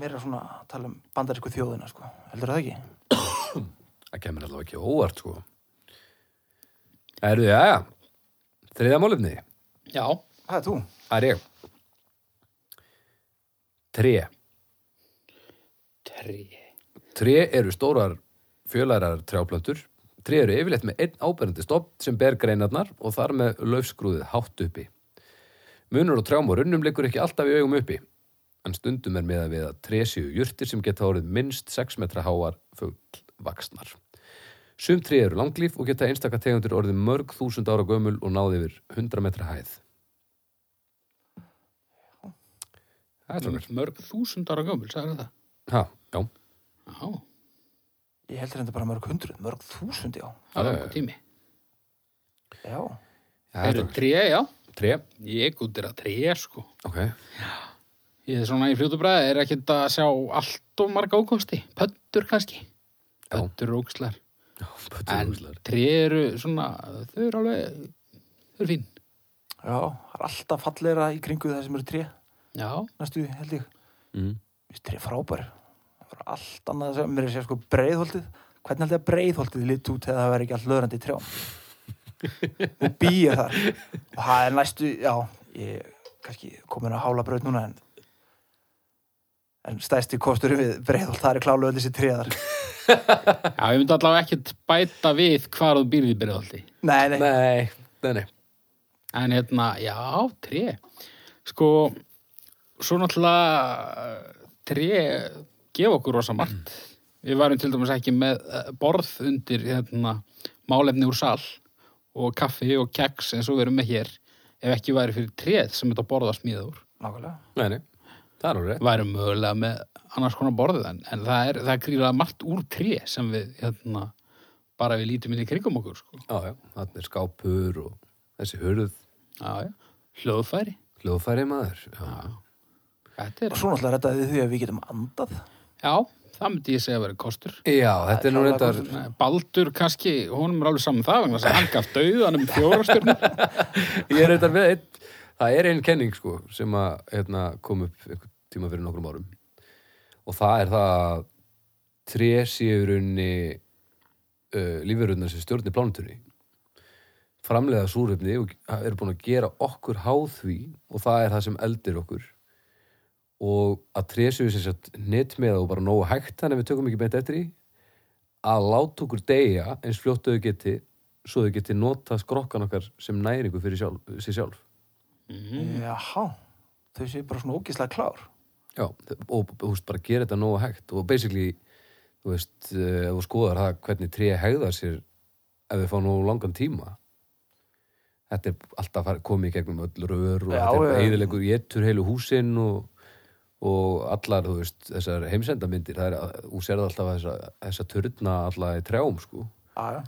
meira svona að tala um bandarísku þjóðina, sko. Heldur það ekki?
Það kemur allavega ekki á óvart, sko. Erðu, já, já. Þriðja málefni,
Já.
Það er þú.
það er ég. Tré.
Tré.
Tré eru stórar fjölarar trjáplöntur. Tré eru yfirleitt með einn áberandi stopp sem ber greinarnar og þar með laufskrúðið hátt uppi. Munur og trjám og runnum liggur ekki alltaf í augum uppi, en stundum er með að við að tré séu jurtir sem geta orðið minnst 6 metra háar fuglvaksnar. Sum tré eru langlíf og geta einstaka tegundur orðið mörg þúsund ára gömul og náði yfir 100 metra hæð. Það er strókar.
Mörg þúsund ára gömul, sagði það.
Ha, já.
Já.
Ég heldur þetta bara mörg hundruð, mörg þúsund, já.
Það var
Já, já,
einhver tími.
Já.
Það er
Herru,
strókar.
tré, já.
Tré,
Ég gúttir að tré, sko.
ok.
Ég er svona í fljótu bræði, er ekki að sjá allt og marga ókosti. Pöntur kannski.
Já.
Pöntur og ókslar.
Já,
En
pötturúslar.
tré eru svona, þau eru alveg, þau eru fín.
Já, það er alltaf falleira í kringu það sem eru tré,
Já,
næstu, því, held ég.
Mm.
Vist, tré frábær. Það var allt annað að segja, mér er að segja sko breiðholtið. Hvernig held ég að breiðholtið lit út eða það væri ekki all löðrandi trjám? Nú býja þar. Og það er næstu, já, ég kannski komin að hála bröð núna en en stæsti kostur við breiðholt, það er klálu öll þessi tréðar.
já ég myndi allavega ekkert bæta við hvar þú býrði í byrjadaldi.
Nei, nei,
Nei, nei, nei.
En hérna, já, tré. Sko, svo náttúrulega eh, tré gefa okkur rosa margt. Við varum til dæmis ekki með eh, borð undir hérna, málefni úr sal og kaffi og keks eins og við erum með hér ef ekki væri fyrir tréð sem þetta borða smíða úr.
nákvæmlega.
Nei, nei. Það er alveg rétt.
værum mögulega með annars konar borðið en, en það er, það er gríðlega margt úr tré sem við hérna, bara við lítum inn í kringum okkur sko.
Já, já. Þannig er skápur og þessi hurð,
já, já. hljóðfæri
hljóðfæri maður. Já.
þetta er,
Og svo náttúrulega reddaði því að við getum andað.
já, það myndi ég segja að vera kostur.
Já, þetta er nú
klárlega
reyndar
kostur.
Nei, Baldur kannski, honum er alveg saman það vegna þess að hann gaf dauðanum fjórastjörnur
Ég er reyndar með einn Það er einn kenning sko sem að hérna, kom upp einhvern tíma fyrir nokkrum árum og það er það að tré séu í rauninni uh, lífverðunar sem stjórnir plánutunni framleiða súrefni og eru búin að gera okkur háð því og það er það sem eldir okkur og að tré séu sem sagt neitt með og bara nógu hægt þannig að við tökum ekki beint eftir því að láta okkur deyja eins fljótt og þau geti svo þau geti nota skrokkan okkar sem næringu fyrir sjálf, sér sjálf
Mhm.
Hmm. Jaha, þau séu bara svona ógislega klár.
Já, og þú veist, bara gera þetta nógu hægt og basically, þú veist eh, ef þú skoðar það hvernig tré hegða sér ef þau fá nógu langan tíma þetta er alltaf far- komið í gegnum öll rör og
Já,
þetta er
já.
eðilegur getur heilu húsin og, og allar, þú veist, þessar heimsendamindir það er, að- þú serð alltaf þessa, þessa turna alla í trjám, sko
Já, já.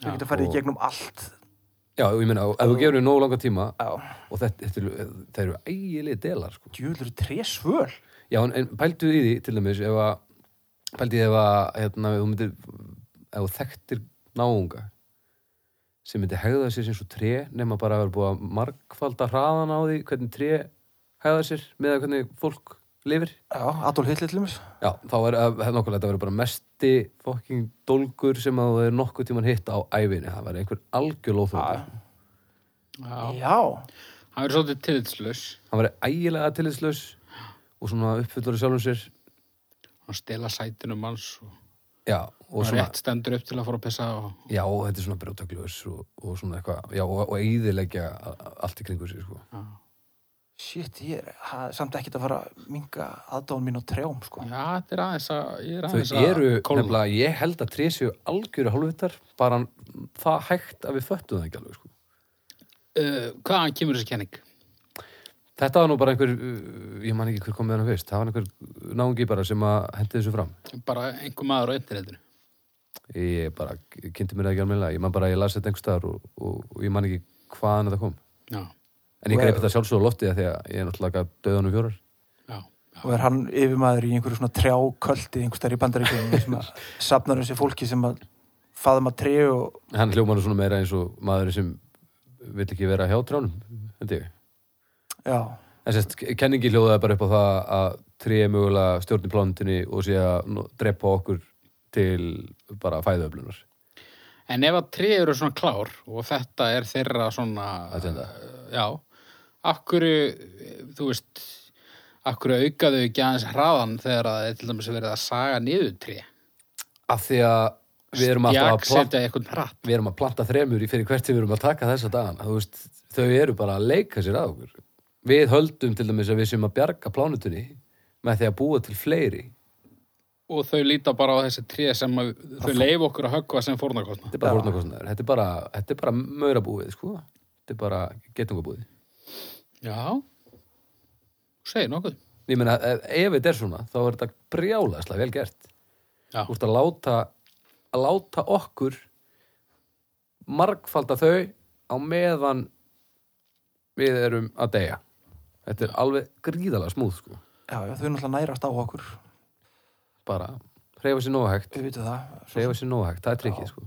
Þau
Já,
geta farið í
og-
gegnum allt.
Já, og ég meina, ef þú gefur þau nógu langan tíma
Já,
og þetta, þetta, eru- þetta eru ægilega delar, sko
djúður tré svöl.
Já, en, en pældu í því til dæmis ef að, pældu í því ef að hérna, ef þú myndir, ef þú þekktir náunga sem myndi hegða sér sem svo tré nema bara að vera búið að margfalda hraðan á því hvernig tré hegða sér með að hvernig fólk lifir
Já, Adolf Hitler til þess.
Já, þá er nokkulega þetta verið bara mesti fokking dólgur sem að þú er nokkuð tíman hitt á ævinni, það verið einhver algjörlóþróta
Já,
Já,
hann verður svolítið tillitslaus
hann verið ægilega tilislaus og svona uppfullur í sjálfum sér
hann stela sætinum hans og,
Já, og
og
svona
rétt stendur upp til að fara að pissa og
Já, og þetta er svona brjótaglöðs og, og svona eitthvað, já, og, og eigðilegja allt í kringu sér, sko.
shit, ég er ha- samt ekkert að fara að minga aðdóðan mín á trjám, sko.
já, þetta er aðeins að ég er aðeins
Þau
að
eru,
kólna.
nefnilega, ég held að tré séu algjöru hálfvitar, bara það hægt að við föttum það ekki alveg, sko.
uh, hvaðan kemur þessi kenning?
Þetta var nú bara einhver, uh, ég man ekki hver kom með hana fyrst, það var einhver náungi bara sem að hendi þessu fram.
bara einhver maður á internetinu
Ég bara kynnti mér það ekki alveg, ég man bara, að ég las þetta einhver staðar og, og, og ég man ekki hvaðan þetta kom.
já,
En ég greip þetta sjálfsög á loftið því að ég er náttúrulega döðanum fjórar.
já,
Og er hann yfirmaður í einhverju svona trjáköldi einhverstaðar í bandaríkjum sem að safnar um sig fólki sem að faðma tré og
Hann hljómar nú svona meira eins og maður sem vill ekki vera hjá trjánum, held ég.
já,
En sérst, kenningi hljóðaði bara upp á það að tré mögulega stjórnir plánutinni og sé að nó- drepa okkur til bara fæðuöflunar.
en ef að tré eru svona klár og þetta er þeirra svona
Agenda.
uh, já, akkur þú veist akkur aukaðu ekki aðeins hraðan þegar að það er til dæmis verið að saga niður tré
Af því að við erum alltaf að planta,
setja eitthvað hratt
við erum að planta þremur í fyrir hvert sem við erum að taka þessa dagana. Þú veist, þau eru bara að leika sér að okkur. Við höldum til dæmis að við sem að bjarga plánutinni með því að búa til fleiri.
og þau líta bara á þessi tré sem að, þau leif okkur að höggva sem fórnarkostna
Þetta er bara fórnarkostnaður. Þetta er bara, þetta er bara maurabúið, sko. Þetta er bara getungabúið.
já segir nokkuð
Ég meina, ef ef þetta er svona, þá er þetta brjálaðslega vel gert.
já,
Þú ert að láta, að láta okkur margfalda þau á meðan við erum að deyja. Þetta er alveg gríðalega smúð, sko.
já, já, þau náttúrulega nærast á okkur
Bara hreyfa sér nógu hægt,
við vitum það svo,
hreyfa sér nógu hægt, það er trikkið, sko.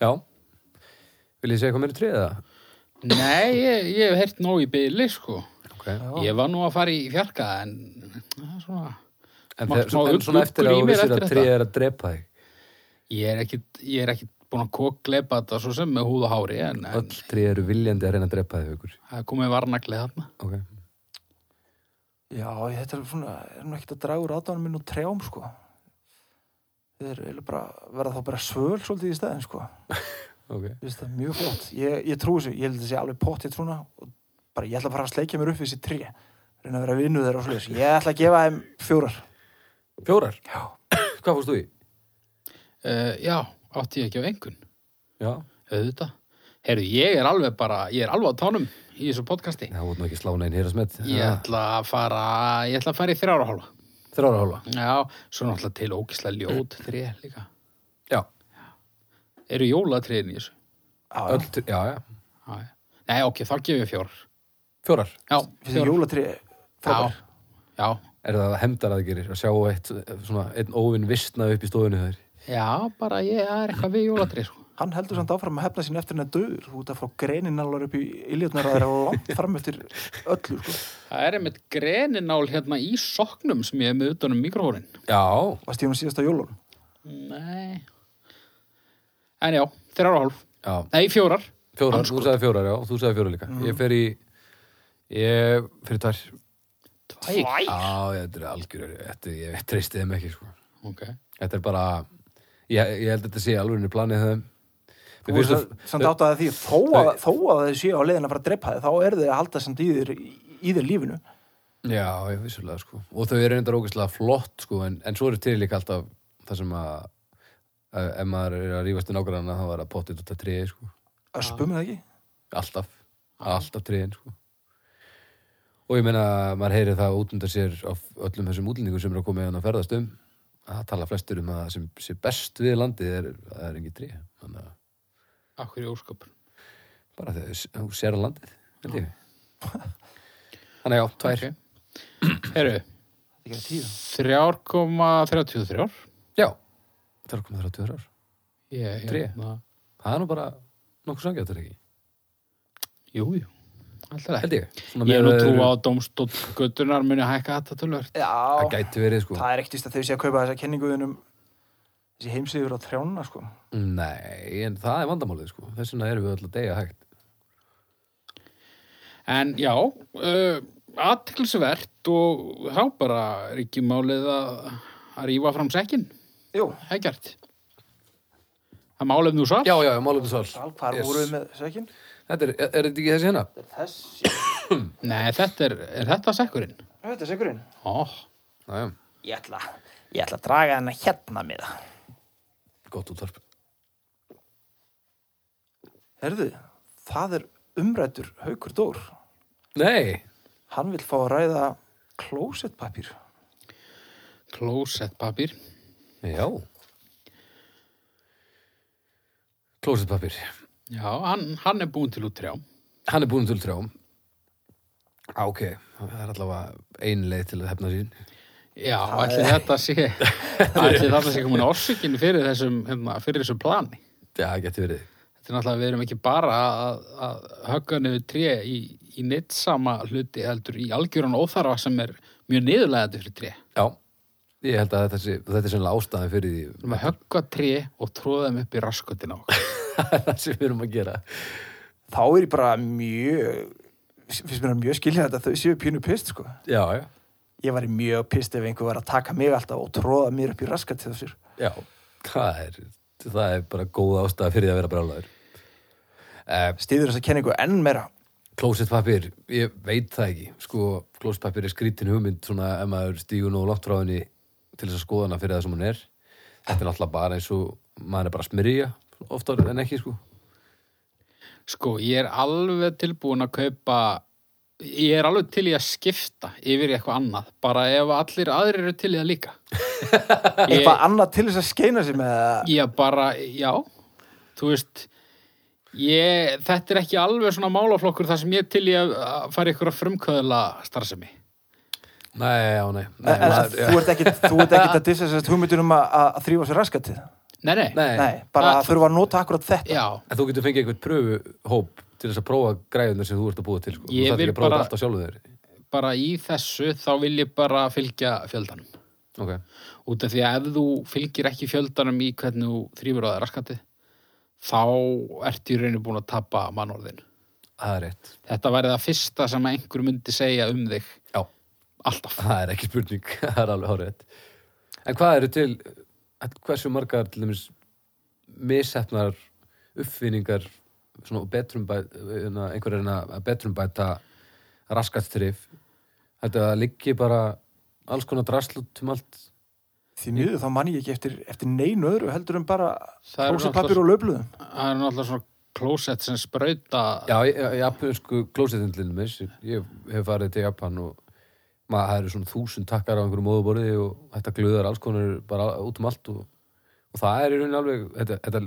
Já. Viljið þið segja hvað mér er treða?
nei, ég, ég hef heyrt nóg í byli sko
Ok.
Ég var nú að fara í fjarka en það er svona,
En,
Margt
þegar,
smá
en svona
uggur
eftir
í
að þú
mér
vissir
eftir
að
þetta.
treða er að drepa þig.
ég er ekki, ég er ekki búin að kokleipa þetta svo sem með húð og hári en, en
Öll treða eru viljandi að reyna að drepa þig, ykkur.
það er komið varnaglið þarna.
Ok.
já, ég- þetta er svona, er nú ekkert að draga úr aðdóðan mín á trjám, sko þeir eru eiginlega bara, verða þá bara svöl svolítið í stæðin, sko
Ok.
Þú veist það er mjög flott, ég, ég trú þessu ég held að þetta sé alveg pottitt svona og bara ég ætla bara að sleikja mér upp við þessi tré reyna að vera vinnu þeirra og svolítið ég ætla að gefa þeim fjórar
Fjórar,
já,
hvað fórst þú í?
Uh, já, átti ég ekki á engun,
Já.
auðvitað. Herru, ég er alveg bara, ég er alveg á tánum í þessu podcasti.
Það voru nú ekki slána einn hér að smett.
Ég ætla að fara, ég ætla að fara í þrjára hálfa.
Þrára hálfa.
Já, svo náttúrulega til ógislega ljót þrjá líka.
Já.
Eru jólatriðin í þessu?
já,
Öll, já, já.
Já, já. Nei, ok, þá gefum við fjórar.
Fjórar.
Já,
þessi jólatré
Já,
frábær.
já,
er það hemdaraðgerir að sjá eitt, svona, einn óvinn vistna upp í stofunni þær
Já, bara ég, það er eitthvað við jólatrið, sko.
Hann heldur samt áfram að hefna sín eftir henni döður út að frá greinin alveg upp í iljóðnar að það er langt fram eftir öllu sko.
Það er einmitt greninál hérna í soknum sem ég hef með um utanum mikróhórin.
Já,
Varst ég hún síðasta jólun?
Nei. En já, þrjára hálf.
já, Mm.
Nei, fjórar.
fjórar, þú sagði fjórar, já, þú sagði fjórar líka Ég fer í, ég fer í tvær
Tvæk.
Já, þetta er algjör, þetta, ég treysti þeim ekki, sko
Ok.
Þetta er bara, ég, ég held að þetta sé alveg henni planið þeim Mér
Þú veist
finnst það-
samt átt að því þó að, þó að þau séu á leiðin að fara að drepa þið þá eru þið að halda samt í þér, í þér lífinu
Já, ég vissulega, sko Og þau eru reyndar ógeðslega flott, sko En, en svo eru til líka alltaf það sem að að ef maður er að rífast í nágrana þá er að pottið út að treði, sko
að spumið ekki
alltaf, alltaf treðin sko. og ég meina maður heyri það út undan sér á öllum þessum útlendingum sem eru að koma meðan að ferðast um að það tala flestir um að það sem sé best við landið er að það er engin tré þannig að
Akkur í ósköpun.
bara þegar þú sér landið held ég þannig já,
Ok.
tvær
Herru,
Þetta er ekki að tíða.
3,33.
já, 3,32 ár
Ég,
Tré.
hérna-
það er nú bara nokkuð sangjátt er ekki
Jú, jú. Alltaf ekki.
held ég, Svona
Ég er nú
meðan
trú
öðru-
á að dómstóttgötunar muni hækka þetta tölvöld.
það
Já,
gæti verið sko
það er ekkert víst að þau séu að kaupa þessa kenninguðunum þessi heimsýður á trjána sko.
nei, en það er vandamálið sko þess vegna erum við öll að deyja hægt
En já, uh, aðtilsvert og þá bara er ekki málið að, að rífa fram sekkin,
Jú,
ekkert. Það málið nú svar.
já, já, málum við sál
hvar
Yes.
voru við með sökin?
Þetta er, er þetta ekki þessi hérna?
Þetta er þessi
Nei, þetta er, er þetta sekkurinn?
Þetta er sökurinn
Ó,
Já, já,
Ég ætla, ég ætla að draga hennar hérna með það
gott útvarp.
Herðu, það er umrættur haukur dór
Nei,
Hann vil fá að ræða klósettpapír
klósettpapir.
já. Klósetpapir.
Já, hann, hann er búin til út trjá.
Hann er búin til trjám. Á, ok, það er allavega ein leið til að hefna sín.
Já, ætli þetta sé, ætli þetta sé komin orsökin fyrir þessum, hérna, fyrir þessum plani.
Já, það getur verið.
Þetta er náttúrulega, við erum ekki bara að, að högga niður tré í, í neitt sama hluti heldur í algjörun óþarfa sem er mjög niðurlegandi fyrir tré.
Já, ég held að þetta, sé, þetta er sennilega ástæðan fyrir
Við erum að högga tré og tróða þeim upp í raskotina okkur.
því það sem við erum að gera.
Þá er ég bara mjög finnst mér það mjög skilja þetta þau séu pínu pist sko.
Já, já.
Ég var mjög pist ef einhver var að taka mig alltaf og tróða mér upp í raskat til þessir
Já, það er, það er bara góð ástæða fyrir því að vera brálaður. Uh,
Stýður þessa kenningu enn meira
Klósettpapir, ég veit það ekki sko, klósettpapir er skrítin hugmynd svona ef maður stígur nú langt frá henni til þess að skoða hana fyrir það sem hún er þetta er náttúrulega bara eins og maður er bara að smyrja oftar en ekki sko
Sko, ég er alveg tilbúin að kaupa, ég er alveg til í að skipta yfir í eitthvað annað, bara ef allir aðrir eru til í það líka. Ég,
Eitthvað annað til þess að skeina sig með það
ég bara, já, þú veist, ég, þetta er ekki alveg svona málaflokkur þar sem ég er til í að að fara í ykkur að frumkvöðla starfsemi.
Nei, já, nei, nei,
En- en
maður,
Þú ert ekkit þú ert ekkit að dissa þessast hugmyndunum um að- að þrýfa sér raskatið
Nei, nei.
nei.
Nei, bara
Það-
að þurfa að nota akkurat þetta
Já,
En þú getur fengið einhvern pröfuhóp til þess að prófa græðunar sem þú ert að búa til sko.
Ég
þú þarf
vil
ekki að prófa
bara-
þetta alltaf sjálfu þér
bara í þessu þá vil ég bara fylgja fjöldanum.
okay.
Út af því að ef þú fylgir ekki fjöldanum í hvernig þú þrýfur á það raskandi, þá ertu í rauninu búin að tapa mannorðin.
Það er rétt
Þetta væri það fyrsta sem einhver myndi segja um þig
Já,
alltaf.
það er ekki spurning það er alveg horrið En hvað eru til, hversu margar til dæmis missetnar uppfinningar svona betrumbæta einhverjar en að betrumbæta raskatstrif þetta að liggi bara alls konar drasl út um allt
Því miður þá mann ég ekki eftir, eftir neinu öðru heldur en bara
Það eru
klósapapir og löfluðum.
Það eru náttúrulega svona klósett sem sprauta
Já, ég, ég japansku klósetindlinu mis ég hef farið til Japan og maður það eru svona þúsund takkar á einhverju móðuborði og þetta glöðar alls konar bara út um allt og, og það er í raunin alveg þetta, þetta,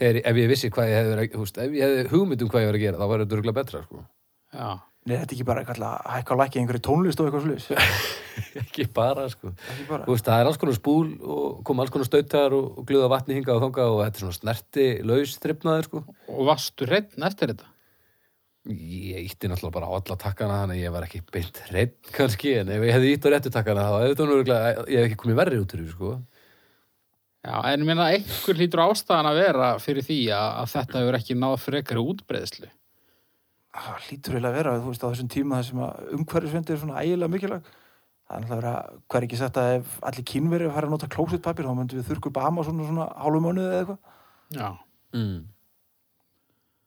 þegar, ef ég vissi hvað ég hefði verið að- þú veist, ef ég hefði hugmynd um hvað ég verið að gera þá var þetta örgulega betra sko.
Já.
Nei, þetta er ekki bara kalla, hækka og lækja í einhverju tónlist og eitthvað sluðis.
ekki bara sko
Ekki
Þú
bara.
veist, það er alls konar spúl og koma alls konar stautar og og gluða vatni hingað og þangað og þetta er svona snerti laus þrifnaður sko.
Og varstu hreinn eftir þetta?
Ég ítti náttúrulega bara á alla takkana þannig að ég var ekki beint hreitt kannski en ef ég hefði ítt á réttu takkana þá hefði þetta nú örugglega- ég hef ekki komið verri út úr því sko.
Já, en ég meina einhver hlýtur ástæðan að vera fyrir því að, að þetta hefur ekki náð frekari útbreiðslu.
Það Ah, hlýtur eiginlega að vera, þú veist, á þessum tíma þar sem að umhverfisvindi er svona ægilega mikilvæg. Það er náttúrulega að vera, hver ekki sagt að ef allir kínverið fara að nota klósettpapir, þá myndum við þurrku upp Amazon og svona hálfum mánuði eða eitthvað.
Já.
Mm.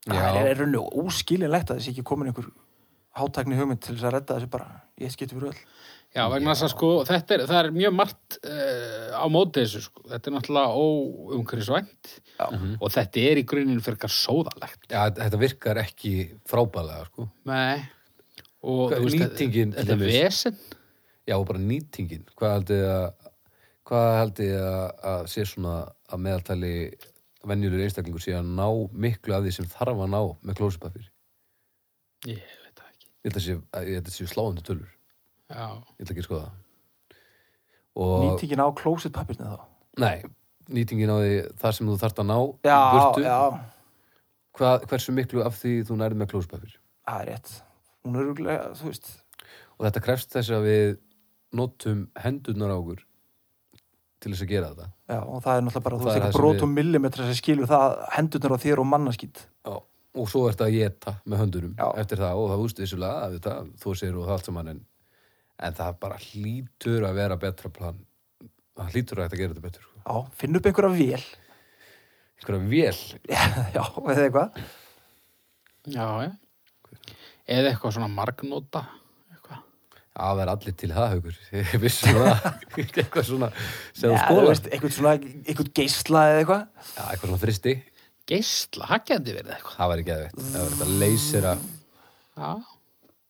Það er
Já,
í rauninu óskilinlegt að þessi ekki komin einhver hátækni hugmynd til þess að redda þessu bara. Ég skipti fyrir öll.
Já, vegna þess að sko, þetta er, það er mjög margt uh, á móti þessu sko. Þetta er náttúrulega óumhverfisvænt
Já.
og þetta er í grunin fyrir eitthvað sóðalegt.
já, þetta virkar ekki frábælega sko.
Nei. Og,
Hvað,
þú veist,
nýtingin,
þetta- Þetta
til
er
dæmis?
vesen.
Já, og bara nýtingin. Hvað haldið þið að hvað haldið þið að, að sé svona að meðaltali venjulegur einstaklingur sé að ná miklu af því sem þarf að ná með klósupapir?
Ég veit það ekki.
Ég held að sé- að- ég held að þetta séu sláðandi tölur.
Já.
Ég ætla ekki að skoða það. Og
Nýtingin á klósettpapirni þá.
Nei, nýtingin á því þar sem þú þarft að ná í
Já,
burtu,
já.
Hvað, hversu miklu af því þú nærið með klósupapir?
Það er rétt. Hún er örgulega, þú veist,
Og þetta krefst þess að við notum hendurnar á okkur til þess að gera þetta.
já, og það er náttúrulega bara, þú
Það
veist,
er það
eitthvað
sem
brót
við-
og millimetra sem skilur það hendurnar á þér og mannaskýtt.
Já. Og svo ertu að geta með höndurum
Já.
eftir það og það úst vissulega að þetta, þú sér og það allt saman en, en það bara hlýtur að vera betra plan. Það hlýtur að þetta gera þetta betur. sko.
Já, finn upp einhverja vél,
Einhverja vel
já, eða eitthvað.
Já, já. Eða eitthvað svona margnóta. Eitthvað.
Já, það er allir til það, haukur. Ég vissi það. eitthvað svona, sem þú
Já, þú
skólar.
veist, eitthvað svona, eitthvað geisla eða eitthvað.
Já, eitthvað svona fristi.
Geisla, það geti verið eitthvað.
Það væri geðveitt. Það væri þetta leysir að,
Já.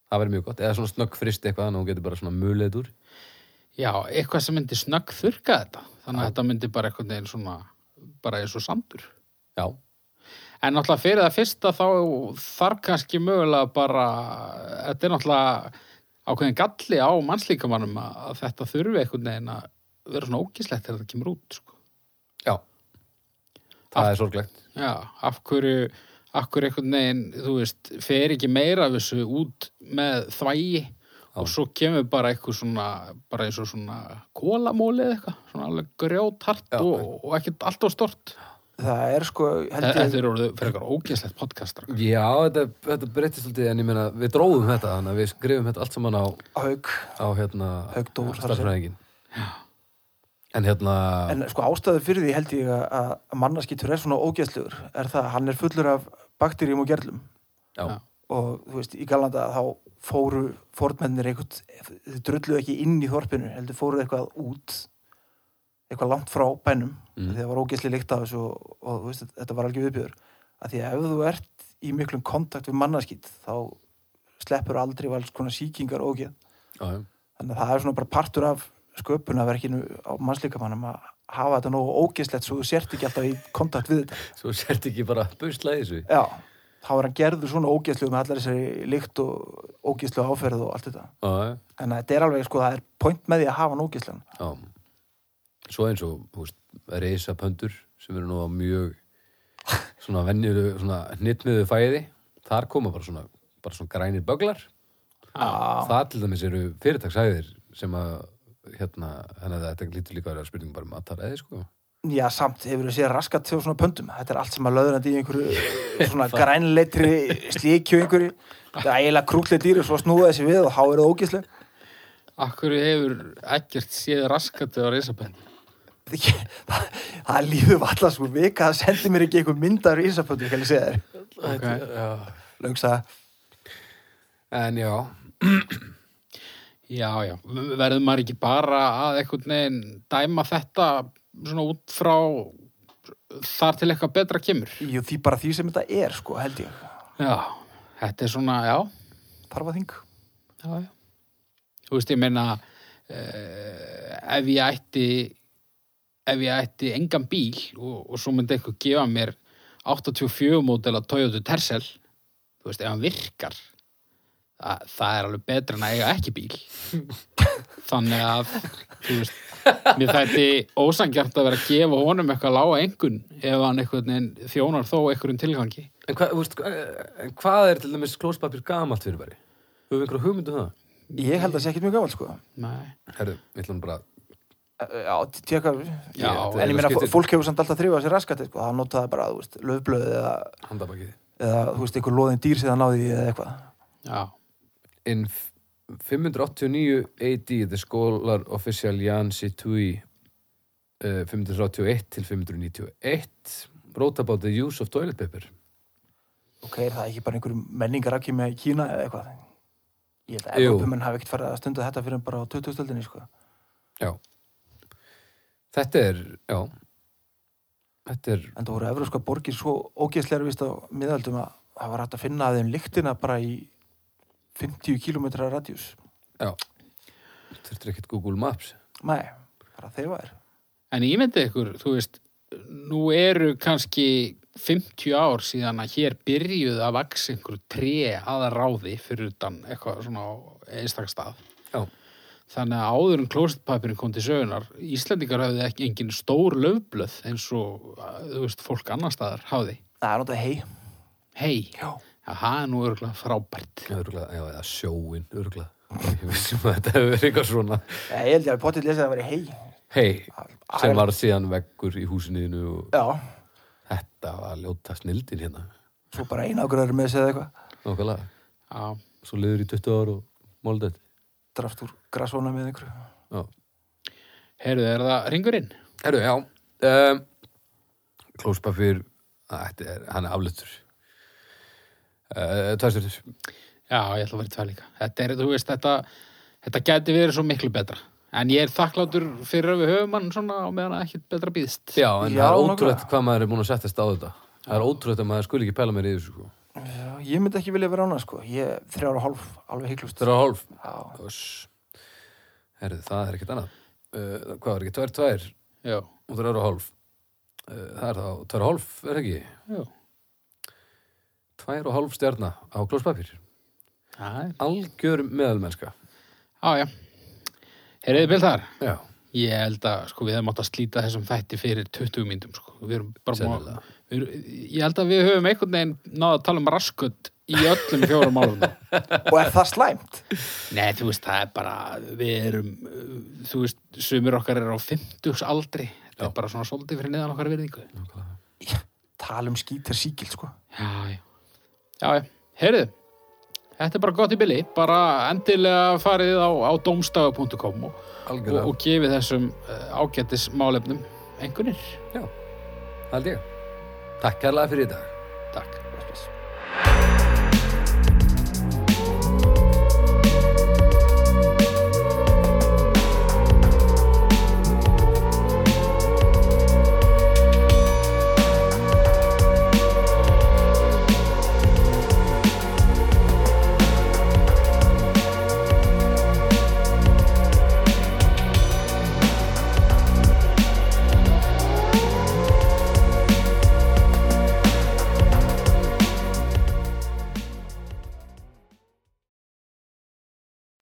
það væri mjög gott. Eða svona snögg fristi eitthvað, þannig að hún getur bara svona mulið úr.
Já, eitthvað sem myndi snögg þurka þetta. Þannig að þetta myndi bara eitthvað neginn svona, bara eins og sandur.
Já,
En náttúrulega fyrir það fyrsta þá þarf kannski mögulega bara, þetta er náttúrulega ákveðin galli á mannslíkamannum að að þetta þurfi einhvern veginn að vera svona ógislegt þegar þetta kemur út, sko.
já. Það er sorglegt.
Já, af hverju, af hverju einhvern veginn, þú veist, fer ekki meira af þessu út með þvægi og svo kemur bara eitthvað svona, bara eins og svona kólamóli eða eitthvað, svona alveg grjóthart
Já.
og, og ekkert allt og stort.
Það er sko, held
Þetta
ég,
er orðið fyrir eitthvað ógislegt podcast, strákar.
Já, þetta, þetta breytist alltaf, en ég meina, við dróðum þetta, þannig að við skrifum þetta allt saman á,
haug.
á hérna,
Haukdór, þar að segja.
starfræðingin. En hérna,
En sko ástæðu fyrir því held ég að- að mannaskýttur er svona ógeðslugur, er það að hann er fullur af bakterjum og gerlum.
já,
Já.
og þú veist, í Galanda þá fóru fornmennir eitthvað, þau drulluðu ekki inn í þorpinu, heldur fóru eitthvað út eitthvað langt frá bænum mm. því það var ógeðsli líkt af þessu og, og þú veist, þetta var algjör viðbjöður að því að ef þú ert í miklum kontakt við mannaskýtt þá sleppur aldrei vals konar sýkingar og ógeð
já, já.
þannig að það er svona bara partur af sköpunarverkinu á mannslíkamannum að hafa þetta nógu ógeðslegt svo þú sért ekki alltaf í kontakt við þetta
svo sért ekki bara busla í þessu.
Já, þá er hann gerður svona ógeðslu með allar þessari lykt og ógeðslu áferð og allt þetta.
Já, já.
En þetta er alveg, sko, það er point með því að hafa hann ógeðslan.
Já. Svo eins og, þú veist, reisapöndur sem eru nú á mjög svona venjulu, svona hnittmiðu fæði, þar koma bara svona, bara svona grænir böglar.
Já,
Það til dæmis eru fyrirtaksæðir sem að, hérna, þannig að þetta lítur líka að vera spurning bara um mataræði, sko.
já samt hefur við séð raskat til svona pöndum. Þetta er allt sem að löðurandi í einhverju svona grænleitri slíkju einhverju. Það er eiginlega krúklega dýr og svo snúða þessi við og þá er það ógeðslu.
Akkur hefur ekkert séð raskatu á reisapenn.
það líður valla sko vika, það sendi mér ekki einhver myndar í Ísapöndu, kann ég segja þér.
Okay.
Löngsa,
En já,
Já, já. Verður maður ekki bara að einhvern veginn dæma þetta svona út frá þar til eitthvað betra kemur?
jú, því bara því sem þetta er, sko, held ég.
Já, þetta er svona, já,
Þarf að þing.
já, já. Þú veist, ég meina, eh, ef ég ætti, ef ég ætti engan bíl og, og svo myndi eitthvað gefa mér 84 mótel að Toyota Tercel, þú veist, ef hann virkar, Þa, það er alveg betra en að eiga ekki bíl þannig að þú veist, mér þætti ósangjart að vera að gefa honum eitthvað lága engun ef hann einhvern veginn þjónar þó einhverjum tilgangi
En, hva, veist, eh, en hvað er til dæmis klóspapir gamalt fyrir bæri? Höfum við einhverja hugmyndu það?
Ég held að það sé ekkert mjög gaman, sko.
Nei.
Herðu, við ætlum bara
Eh, Já, tjekka,
Já,
Ég-
en ég meina,
skiptir-
fólk hefur samt alltaf þrifað sér raskatið, sko. Það notaði bara, þú veist, löfblöð eða,
handabakið.
eða, þú veist, einhver loðin dýr sem það náði í eða eitthvað.
já,
In f- 589 AD, the scholar official Jan Situi, uh, 531 til 591, wrote about the use of toilet paper.
Ok, er það ekki bara einhverjum menningarakki með Kína eða eitthvað? Ég held að
Jú.
Evrópumenn hafi ekkert farið að stunda þetta fyrir bara á 2000-öldinni, sko.
Já. Þetta er, já, þetta er,
En það voru evrópska borgir svo ógeðslega vist á miðaldum að það var hægt að finna að þeim lyktina bara í 50 km radjús.
já, þurftir ekkert Google Maps.
Nei, bara þeir var.
en ég myndi ykkur þú veist, nú eru kannski 50 ár síðan að hér byrjuð að vaks einhver tré aða ráði fyrir utan eitthvað svona á einstakstað
Já,
Þannig að áður en klósetpapirinn kom til sögunar, Íslendingar hafði ekki engin stór löfblöð eins og, að, þú veist, fólk annar staðar hafði.
Það er náttúrulega hei.
Hei,
Já.
það er nú örgulega frábært.
örgulega, já, eða sjóin, örgulega. Ég vissum að þetta hefur verið eitthvað svona,
Ég held ég að potið lesið að það væri hei.
hei,
Það
sem
er-
var síðan veggur í húsinu og
Já,
þetta var ljóta snildin hérna.
svo bara einagraður með þessi eða eitthvað.
Nókulega.
Já,
svo liður í 20 ár og málið þetta.
Drafst úr grasvona með einhverju.
Já.
heyrðu, er það ringurinn?
Herru, já. Um, Klóspapir, þetta er, hann er aflutur. Uh, Tvæsturður.
Já, ég ætla að vera tvær líka. Þetta er, þú veist, þetta, þetta gæti verið svo miklu betra. En ég er þakklátur fyrir að við höfum hann svona á meðan að ekkit betra býðst.
Já, en
Já,
það er
nokkulega.
ótrúlegt hvað maður er búin að settast á þetta. Það er ótrúlegt að maður skuli ekki pæla mér í þessu, sko.
Já, ég myndi ekki vilja vera ánað, sko. Ég þrjára og hálf, alveg heiklust.
Þetta er á hálf.
Já.
Öss. Herru, það er ekkert annað. Uh, hvað er ekki? Tvær, tvær
Já,
og það er á hálf. Uh, það er þá, tvær og hálf, er ekki?
já.
Tvær og hálf stjarna á klóspapir.
Já, Ah,
Algjör meðalmennska.
já. já. Heyrðu, Bildar,
Já.
Ég held að sko, við hefum átt að slíta þessum þætti fyrir 20 myndum sko. við erum bara má,
Sennilega.
við erum, Ég held að við höfum einhvern veginn náða að tala um raskut í öllum fjórum árum
Og er það slæmt?
Nei, þú veist, það er bara við erum, uh, þú veist, sumir okkar er á 50 aldri þetta
Já.
er bara svona svolítið fyrir neðan okkar virðingu Já,
Nákvæmlega.
Tala um skítir síkild, sko.
já, já, já. heyrðu Þetta er bara gott í bili, bara endilega farið á, á domstafu.com og, og,
Algjörlega.
og gefið þessum uh, ágættis málefnum einhvernir.
Já, held ég. Takk kærlega fyrir í dag.
Takk.
Bless, bless.